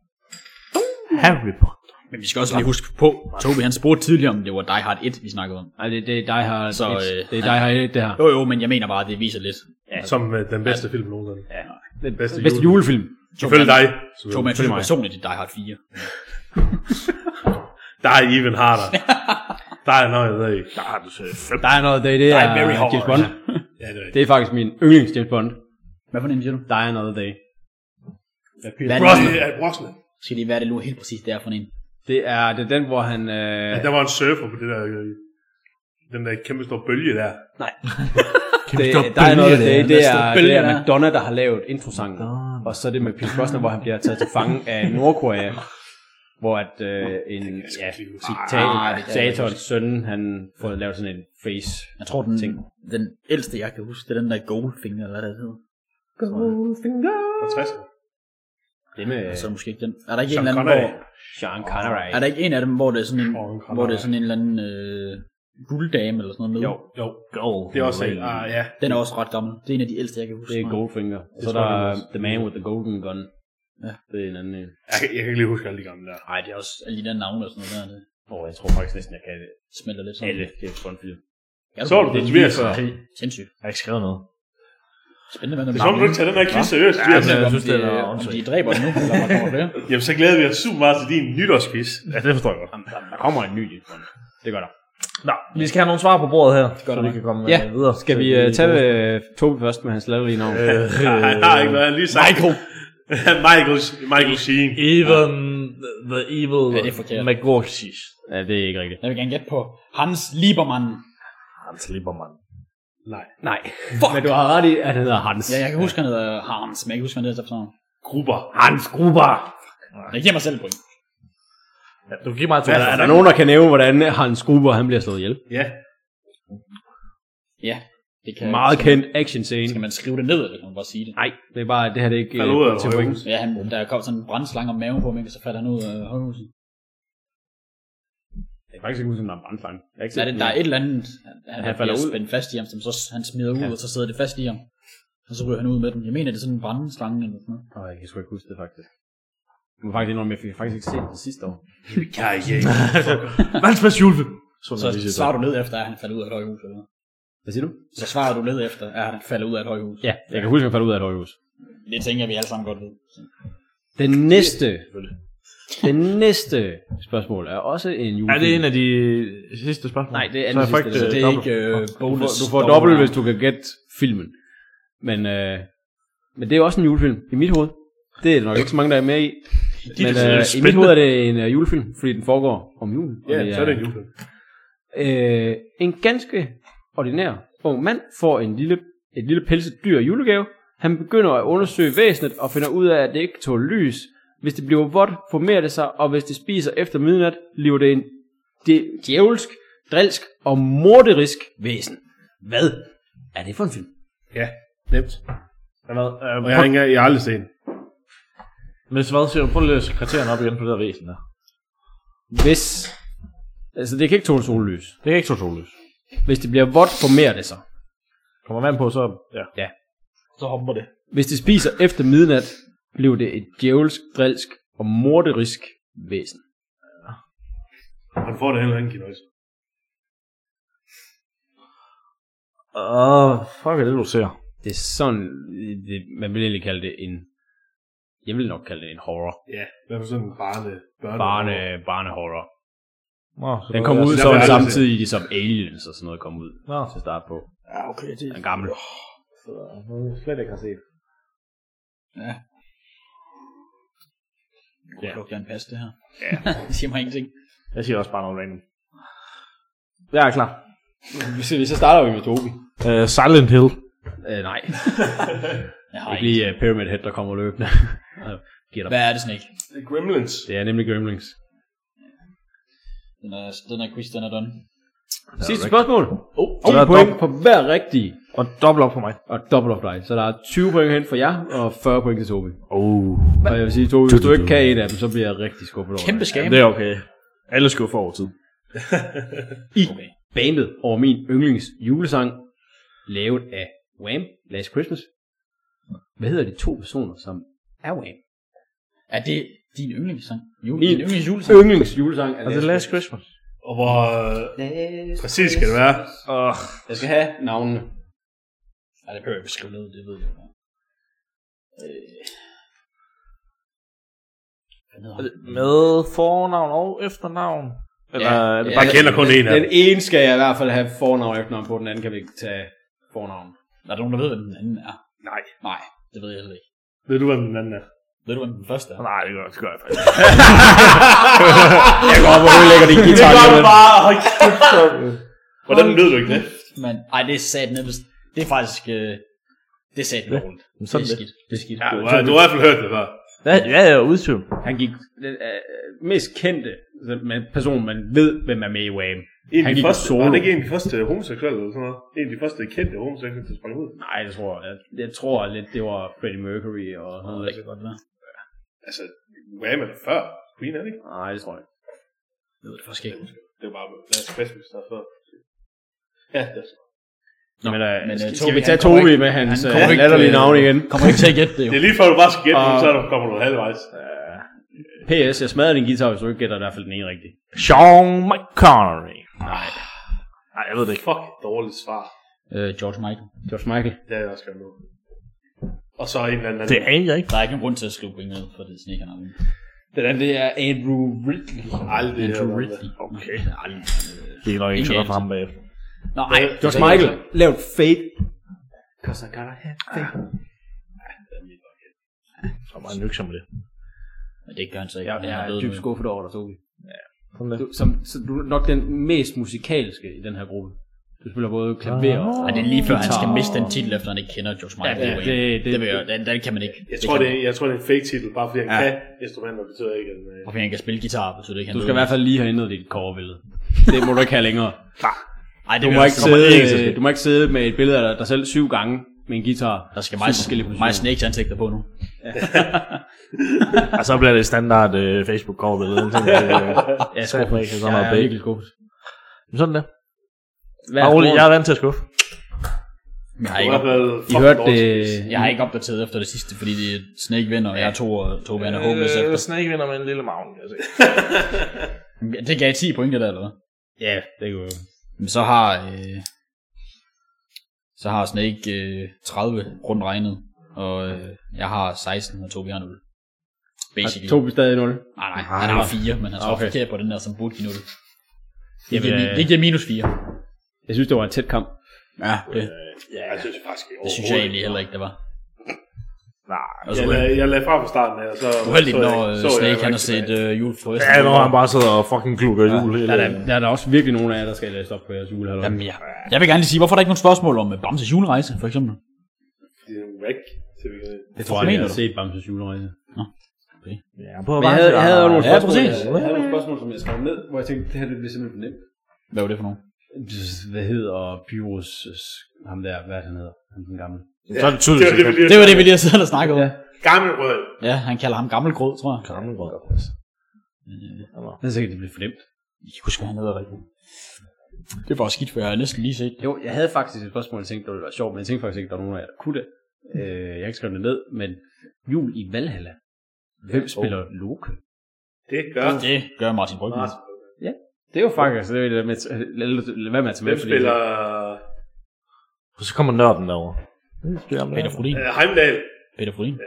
Harry Potter.
Men vi skal også lige huske på, Tobi han spurgte tidligere, om det var Die Hard 1, vi snakkede om.
Ej, det, det er dig her.
Så,
Så,
øh,
øh, det er dig her, det her.
Jo jo, men jeg mener bare, at det viser lidt.
Ja. Som øh, den bedste film nogensinde. Ja.
Den
bedste
bedste, bedste julefilm.
Selvfølgelig dig.
Tobi han synes
mig.
personligt, det er Die Hard 4.
Der er even harder. der er noget, jeg ved ikke.
Der har du så fem.
Der er noget, det, det
Der
er,
er very hard.
James Bond.
Ja, det er rigtigt.
Det er faktisk min yndlings James Bond.
Hvad for en siger du?
Der er noget dag.
Hvad er
Brosnan.
det?
Ja, Brosnan.
Skal lige være det nu helt præcis, det er for en.
Det er, det er den, hvor han... Øh,
Ja, der var en surfer på det der, øh, den der kæmpe store bølge
det,
der.
stor
der er noget
bølge,
dag.
det er.
Det
Der er
er,
stor
det
bølge,
er
der.
Madonna, der har lavet introsangen. Og så er det med Pierce Brosnan, hvor han bliver taget til fange af Nordkorea. hvor at øh, en ja,
Ah, det kan jeg ikke
diktatorens søn, han får lavet sådan en face.
Jeg tror, den,
Ting.
den ældste, jeg kan huske, det er den der Goldfinger, eller hvad det hedder.
Fra 60'erne.
Det med
Øh. Så måske ikke den. Er der ikke, en
Sean
eller, anden,
Connery.
hvor,
Sean Connery.
er der ikke en af dem, hvor det er sådan en,
Sean Connery.
hvor det er sådan en eller anden øh, gulddame eller sådan noget med?
Jo.
Jo,
Gold.
det er også en. Ah, ja.
Den er også ret gammel. Det er en af de ældste, jeg kan huske.
Det er
tror jeg.
Goldfinger. Og
Det
så er
tror jeg, det er
der
også.
The Man with the Golden Gun.
Ja.
Det er en anden en.
Jeg, kan- jeg kan ikke lige huske alle de gamle der.
Ej, det er også alle de der navne og sådan noget der, det
Åh, oh, jeg tror faktisk næsten, jeg kan det.
smelter lidt sammen.
alle James Bond-film.
Ja,
Så du det lige før?
Sindssygt.
Jeg har ikke skrevet noget.
Spændende, hvad der
Det er som om, du ikke tager den her quiz seriøst. Ja,
altså, jeg synes, det
er
er om de dræber den nu, eller hvad kommer det?
Jamen, så glæder vi os super meget til din nytårsquiz.
Ja, det forstår jeg godt.
Jamen, der, der kommer en ny James Bond. Det gør der.
Nå, vi skal have nogle svar på bordet her, så
der
vi
nok.
kan komme
Ja,
øh, videre.
Skal vi uh, tage uh, Tobi først med hans lavlige navn?
Øh,
Nej, han har ikke noget. Han har lige sagt. Michael. Michael, Michael Sheen.
Even the evil
Ja, det er forkert.
Magorsis.
Ja, det er ikke rigtigt.
Jeg vil gerne gætte på Hans Liebermann.
Hans Liebermann.
Nej. Fuck. Men du har ret i, at han hedder Hans.
Ja, jeg kan huske, han hedder Hans, men jeg kan huske, han hedder sådan noget.
Gruber.
Hans Gruber.
Jeg giver mig selv point.
Ja, du giver mig to.
Er der nogen, der kan nævne, hvordan Hans Gruber han bliver slået ihjel?
Ja.
Ja, det kan
Meget kendt action scene.
Skal man skrive det ned, eller kan man bare sige det?
Nej, det er bare, det her det er ikke
Falder ud af
øh, til point.
højhuset.
Ja, han, der kom sådan en brændslange om maven på ham, ikke? og så falder han ud af højhuset.
Det er faktisk ikke ud som der er en brandfang. Jeg har ikke
Der er,
set
det,
den
der er
endnu.
et eller andet, han, han, han falder
falder
ud.
ud.
spændt fast i ham, som så han smider ud, ja. og så sidder det fast i ham. Og så ryger han ud med den. Jeg mener, det er sådan en brændslange eller sådan noget.
Åh, jeg kan sgu ikke huske det faktisk. Jeg må faktisk indrømme, jeg fik faktisk ikke set det sidste år.
Vandsmads julefilm.
Så svarer du ned efter, at han falder ud af et højhus. Eller? hvad?
Hvad siger du?
Så svarer du ned efter, at han falder ud af et højhus.
Ja, jeg kan huske, at jeg faldt ud af et højhus.
Det tænker jeg, vi alle sammen godt ved. Så.
Den næste, den næste spørgsmål er også en julefilm.
Er det en af de sidste spørgsmål?
Nej, det er
Så
anden
jeg får
sidste,
ikke,
Det
øh,
er
dobbelt.
ikke øh,
Du
bonus.
får, du får dobbelt, hvis du kan gætte filmen. Men, øh, men det er også en julefilm, i mit hoved. Det er der nok ikke så mange, der er med i. Men øh, i mit hoved er det en øh, julefilm, fordi den foregår om julen. og
Ja, så er det en
er-
julefilm.
Øh, en ganske ordinær ung mand får en lille, et lille pelset dyr i julegave. Han begynder at undersøge væsenet og finder ud af, at det ikke tåler lys. Hvis det bliver vådt, formerer det sig, og hvis det spiser efter midnat, bliver det en det djævelsk, drilsk og morderisk væsen. Hvad er det for en film?
Ja, nemt.
Hvad? Øh,
Og jeg har, ikke, engang- jeg har aldrig set den.
Men så hvad siger du? Prøv lige at læse kriterierne op igen på det der væsen der.
Hvis... Altså, det kan ikke tåle sollys.
Det er ikke så sollys.
Hvis det bliver vådt, formerer det sig.
Kommer vand på, så... Ja.
så hopper det.
Hvis det spiser efter midnat, bliver det et djævelsk, drilsk og morderisk væsen.
Han får det heller ikke noget.
Åh, fuck er det, du ser?
Det er sådan, det, man vil egentlig kalde det en, jeg vil nok kalde det en horror.
Ja, hvad for sådan en barne... Børne.
Barne, barnehorror.
Nå, så
Den
det
kom
er-
ud
den
som
har jeg aldrig
samtidig som Aliens og sådan noget kom ud
Nå,
til start på.
Ja, okay. Det,
Den gamle.
Slet ikke har set.
ja.
Ja.
Jeg lukker en pas, det her. Ja. det siger mig ingenting.
jeg siger også bare noget random. Jeg er klar.
Så, så starter vi med Tobi.
Uh, Silent Hill.
Øh, nej,
Jeg har
ikke
ikke.
lige uh, Pyramid Head, der kommer løbende. Og giver dig-
Hvad er det, Snake?
Det er Gremlins.
det er nemlig Gremlings.
Den er, den er quiz, den er done.
Sidste spørgsmål. Oh,
der
10
er
point på hver rigtig,
Og dobbelt op for mig.
og dobbelt op dig. Så der er 20 point hen for jer, og 40 point til Tobi.
Oh.
Og jeg vil sige, Tobi, hvis du ikke kan en af dem, så bliver jeg rigtig skuffet over
Kæmpe
dig.
skam.
Det er okay. Alle skal jo få over tid.
i bandet over min yndlings julesang, lavet af Wham! Last Christmas. Hvad hedder de to personer, som er Wham?
Er det din yndlingssang? Jul,
Min-
din yndlingsjulesang?
Yndlings julesang er
Er det Last Christmas?
Og hvor øh, præcis skal det være?
Åh,
Jeg skal have navnene.
Nej, det behøver jeg ikke skrive ned, det ved jeg ikke.
er det med fornavn og efternavn? Eller
Ja,
er det
ja.
bare
Jeg kender kun en af
Den
dem.
ene skal jeg i hvert fald have fornavn og efternavn på, den anden kan vi ikke tage fornavn.
Er der nogen, der ved, hvad den anden er?
Nej.
Nej, det ved jeg heller ikke.
Ved du, hvad den anden er?
Ved du, hvad den første er?
Nej, det gør, det gør jeg faktisk.
Jeg går op og ødelægger din guitar.
Ah,
bare... Hvordan lød du ikke det?
Men, ej, det er sat ned. Det er faktisk... Øh, det er sat dårligt.
Men
Det
sådan
er
det.
skidt.
Det er skidt.
Ja, du, har, du har i hvert fald hørt det før.
Ja, ja, ja, udsyn.
Han gik den øh, mest kendte altså, man- person, man ved, hvem er med i Wham.
En af
Han
de
gik
første,
solo.
var det ikke en af de første homoseksuelle eller sådan noget? En af de første kendte homoseksuelle, der sprang ud.
Nej, det tror jeg. Jeg, jeg tror lidt, det var Freddie Mercury og sådan noget.
Det kan godt være.
Altså, Wham er der før. Queen er det ikke?
Nej, det tror jeg ikke.
Jeg ved det faktisk ikke.
Det var bare Lars Christmas, der er før. Ja, det er så.
Nå, men, øh,
men,
men,
øh,
skal,
Tobi,
skal vi
han
tage
kommer
Tobi
ikke-
med hans
han
han
kommer ikke,
latterlige
øh,
navn igen?
Kommer ikke til at gætte det jo.
Det er lige før du bare skal gætte,
Og-
uh, så er du- kommer du halvvejs.
PS, jeg smadrede din guitar, hvis du ikke gætter i hvert fald den ene rigtige.
Sean McConnery. Nej.
Nej, jeg ved det ikke. Fuck, dårligt svar.
Øh, George Michael.
George Michael.
Det er jeg også gerne nu. Og så en eller anden.
Det aner jeg ikke.
Der er ikke nogen grund til at skrive point ned, for det snikker han aldrig.
Den anden, det er Andrew Ridley.
Aldrig
Andrew
hørt om det.
Ridley.
Okay.
Aldrig.
Det er nok ikke så
Ingen
godt for ham bagefter.
Nå, ej.
George Michael. Lav et fake.
Så var han nyksom med det.
Men det gør han så ikke.
Ja,
Han
jeg er
død
dybt
nu.
skuffet over dig, Tobi. Ja. Du, som, så du er nok den mest musikalske i den her gruppe. Du spiller både klaver og...
Ej, det er lige før, han skal miste den titel, efter han ikke kender George Michael.
Ja,
det,
det-
det,
det-
det, det, det, det, det, kan man ikke.
Jeg tror,
kan
det
man
er, jeg tror, det er en fake titel, bare fordi han ja. kan instrumenter, betyder ikke, at den, øh,
ikke. Og fordi han kan spille guitar, betyder det ikke, han
Du skal
døde.
i hvert fald lige have ændret dit coverbillede. Det må du ikke have længere.
Ej, det
Du
vil
må,
jeg
ikke
også-
sidde, øh, du må ikke sidde med et billede af dig selv syv gange med en guitar.
Der skal meget,
Syv forskellige
meget
positioner.
snakes ansigter på nu.
Og så bliver det standard øh, facebook coverbillede
Ja,
Så man ikke kan så meget
jeg er
bag.
virkelig skuffet.
Men sådan det.
Hvad
Bare
er
rolig, jeg
scoren?
er vant til at skuffe.
Men Jeg har
i
ikke,
hvert
op,
fald
I
fucking
hørte det...
dårligt.
jeg har ikke opdateret efter det sidste, fordi det er Snake vinder, og jeg er to, og to vinder håbløs
Øh,
efter.
Snake vinder med en lille maven. kan jeg se.
Ja, Det gav 10 point, det der, eller hvad?
Ja, det kunne jeg.
Men så har, øh, så har Snake øh, 30 rundt regnet, og øh, jeg har 16, og Tobi har 0. Basically.
Tobi stadig 0.
Nej, nej, han har 4, men han står okay.
Okay.
forkert på den der, som burde give 0. Det
Jamen,
giver, mi-
øh,
det giver minus 4.
Jeg synes, det var en tæt kamp.
Ja,
Øh,
det,
Ja, jeg synes faktisk ikke.
det synes jeg egentlig heller ikke, det var.
Nej.
Og så
Jeg lagde, jeg lagde fra på starten af, og så...
uheldigt,
så jeg
når
ikke-
øh,
så jeg
Snake
ikke
han har
rigtig
set øh, jul for
Ja, når han bare sidder og fucking klukker ja. jul hele
Der er, der, der er der også virkelig nogen af jer, der skal læse op på jeres julehalvår.
Jamen, ja. Jeg vil gerne lige sige, hvorfor er der ikke nogen spørgsmål om øh, Bamses julerejse, for eksempel?
Det er en wreck, til vi kan-
det tror jeg,
mener
jeg har
du?
set Bamses julerejse.
Ja, på
Men jeg havde, jeg havde
"Ah,
jo nogle
Ja,
spørgsmål,
præcis.
jeg havde nogle spørgsmål, som jeg skrev ned, hvor jeg tænkte, det her det bliver simpelthen for nemt.
Hvad var det for nogen?
Hvad hedder Pyrus, ham der, hvad er det, han hedder, ham den gamle?
Så er det
Det var
tydeligt.
det, vi lige...
Det var det, vi lige har siddet og snakket om. Ja.
Gammel rød.
ja, han kalder ham gammel grød, tror jeg.
Gammelgrød.
Jeg er sikkert, det bliver for nemt.
Jeg kan huske, hvad han hedder rigtigt. Det var skidt, for jeg har næsten lige set det.
Jo, jeg havde faktisk et spørgsmål, jeg tænkte, det ville være sjovt, men jeg tænkte faktisk ikke, at der var nogen af jer, der kunne det. Øh, jeg har ikke skrevet det ned, men jul i Valhalla. Hvem spiller Loke?
Det gør...
Det gør Martin Brygman.
Det er jo faktisk, det er jo det med, lad- lad være med at tage med,
Hvem
fordi-
spiller...
Og så kommer nørden derover.
Peter Frodin.
øh, Heimdall.
Peter Frodin.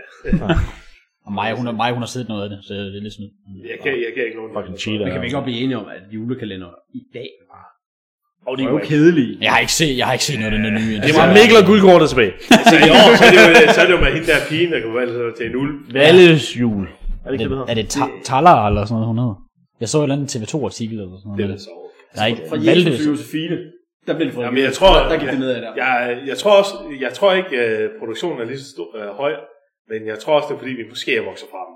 Og Maja, hun, har- Maja, hun har set noget af det, så det er lidt snydt.
Jeg kan, jeg kan ikke nogen.
Fucking cheater. altså.
Men kan vi ikke godt blive enige om, at julekalender i dag var
Og det
jo kedelige?
Jeg har ikke set, jeg har ikke set noget af den nye.
Det var Mikkel og Guldkort er tilbage.
Så altså, i år, så er det jo, så er det jo med hende der pigen, der kan forvandle sig til en ulv.
Valles jul. Er det
Er
ikke det,
det, er det ta- Tala eller sådan noget, hun hedder? Jeg så et eller andet TV2-artikel eller sådan noget.
Det er så over.
Der er ikke
Fra
valgte.
Jesus til Josefine. Der blev det for
Jamen, jeg tror,
der, der gik det ned af der.
Jeg, jeg tror også, jeg tror ikke, øh, produktionen er lige så stor, øh, høj, men jeg tror også, det er fordi, vi måske er vokset fra dem.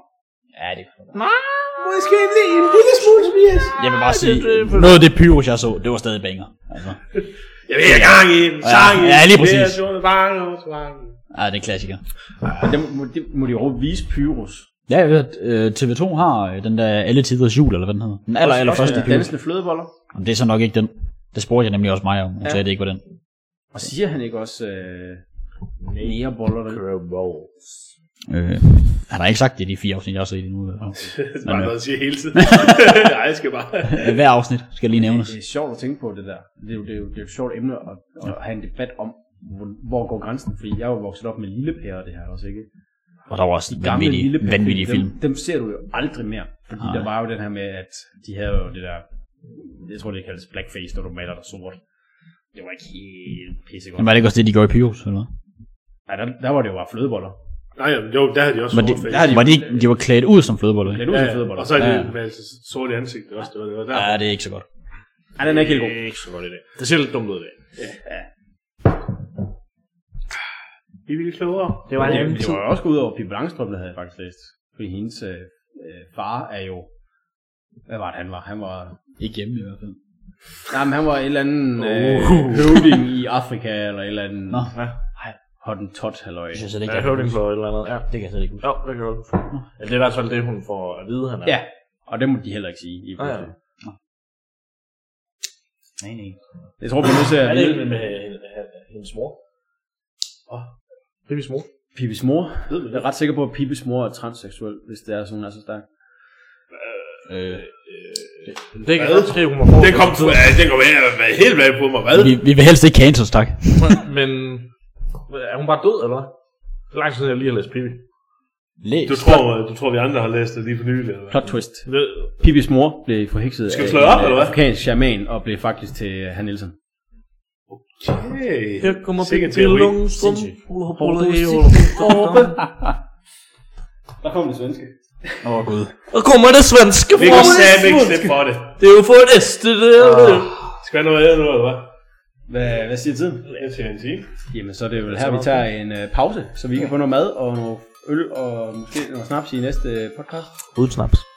Ja, det kan Nej, måske en, en lille smule, Tobias. Jeg vil bare sige, noget af det pyros, jeg så, det var stadig banger. Altså.
Jeg vil have gang i en sang i
ja,
en,
lige præcis.
mere, så er det bare noget, så bare noget.
Ja, det er klassiker.
Men det må, det må de jo vise Pyrus.
Ja, jeg ved, at øh, TV2 har øh, den der Alle Tiders Jul, eller hvad den hedder. Den aller, aller første
Altså, de
jul.
dansende flødeboller.
Jamen, det er så nok ikke den. Det spurgte jeg nemlig også mig om. Hun
Ja.
sagde, det ikke var den.
Og siger han ikke også øh, nære boller? Der?
Øh, han har ikke sagt det i de fire afsnit, jeg har set Øh, endnu. i hvert fald.
Det er bare noget, jeg siger hele tiden. Nej, jeg skal bare...
Men Hver afsnit skal lige nævnes.
Det er sjovt at tænke på det der. Det er jo, det er jo, det er jo et sjovt emne at, at have en debat om, hvor, hvor går grænsen? Fordi jeg er jo vokset op med lille pære og det her også, ikke?
Og der var også
gamle
vanvittige,
lille Pepsi,
vanvittige film.
Dem, dem ser du jo aldrig mere. Fordi
Nej.
der var jo den her med, at de havde jo det der, jeg tror det kaldes blackface, når du maler dig sort. Det var ikke helt pissegodt.
Men var det ikke også det, de gjorde i Pyros? Eller? hvad?
Nej, der, der var det jo bare flødeboller.
Nej, jamen, jo, der havde de også
Var de,
sortface.
der har de-
var de, ikke- de var klædt ud som flødeboller,
Det
ikke?
er nu
Ja,
ja,
ja.
flødeboller.
Og så er det
Ja.
med altså, sorte ansigt også, det var, det var der.
Ja, det er ikke så godt.
Ej, den er ikke helt god.
Øh,
Det er ikke så godt i dag. Det ser lidt dumt ud i dag.
Vi er klogere.
Det var
Men det, det var jo også gået ud over Pippi Langstrømpe, havde jeg faktisk læst. Fordi hendes øh, øh, far er jo... Hvad var det, han var? Han var...
Ikke hjemme i hvert fald.
Nej, men han var et eller andet øh, høvding i Afrika, eller et eller andet...
Nå.
ja. Ej, Hottentot, halløj.
Jeg synes slet ikke,
Jeg
jeg
hørte hende for et eller andet. Ja,
Det kan jeg slet ikke huske.
jo, det kan jeg godt. huske. Ja, det er i hvert fald det, hun får at vide, han er.
Ja, og det må de heller ikke sige. I
Ah, ja.
ah,
Nej, nej.
Jeg tror, vi er nødt til
Er
at
det
vide
ikke med øh, hendes mor? Åh, Pippi's mor.
Pibes mor. Jeg er ret sikker på, at Pibes mor er transseksuel, hvis det er sådan, hun er så stærk.
Øh,
Det kan jeg godt skrive, hun må få.
Det kom, ja, det kom jeg være helt bag på mig. Hvad?
vi, vi vil helst ikke cancels, tak.
Men er hun bare død, eller hvad? Det er lang tid, siden, jeg lige har læst Pippi.
Læs.
Du tror, øh, du tror, vi andre har læst det lige for nylig. Eller? hvad?
Plot twist.
Det-
Pibes mor blev forhekset
Skal vi
af
slå
en,
op,
øh,
eller hvad?
afrikansk shaman, og blev faktisk til øh, Han Nielsen.
Hey,
Her kommer Pippi
sikke en
til
teori.
Lundstrøm.
Der kom det svenske.
Åh, oh, gud.
Og kommer det svenske
Vi kan sammen ikke slippe for det. Ah.
Det er jo for et æste, det er det.
Skal vi have noget andet nu, eller hvad?
Hvad, hvad siger tiden?
Jeg siger en time.
Jamen, så er det vel her, vi tager en øh, pause, så vi kan få noget mad og noget øl og måske noget snaps i næste øh, podcast.
Uden snaps.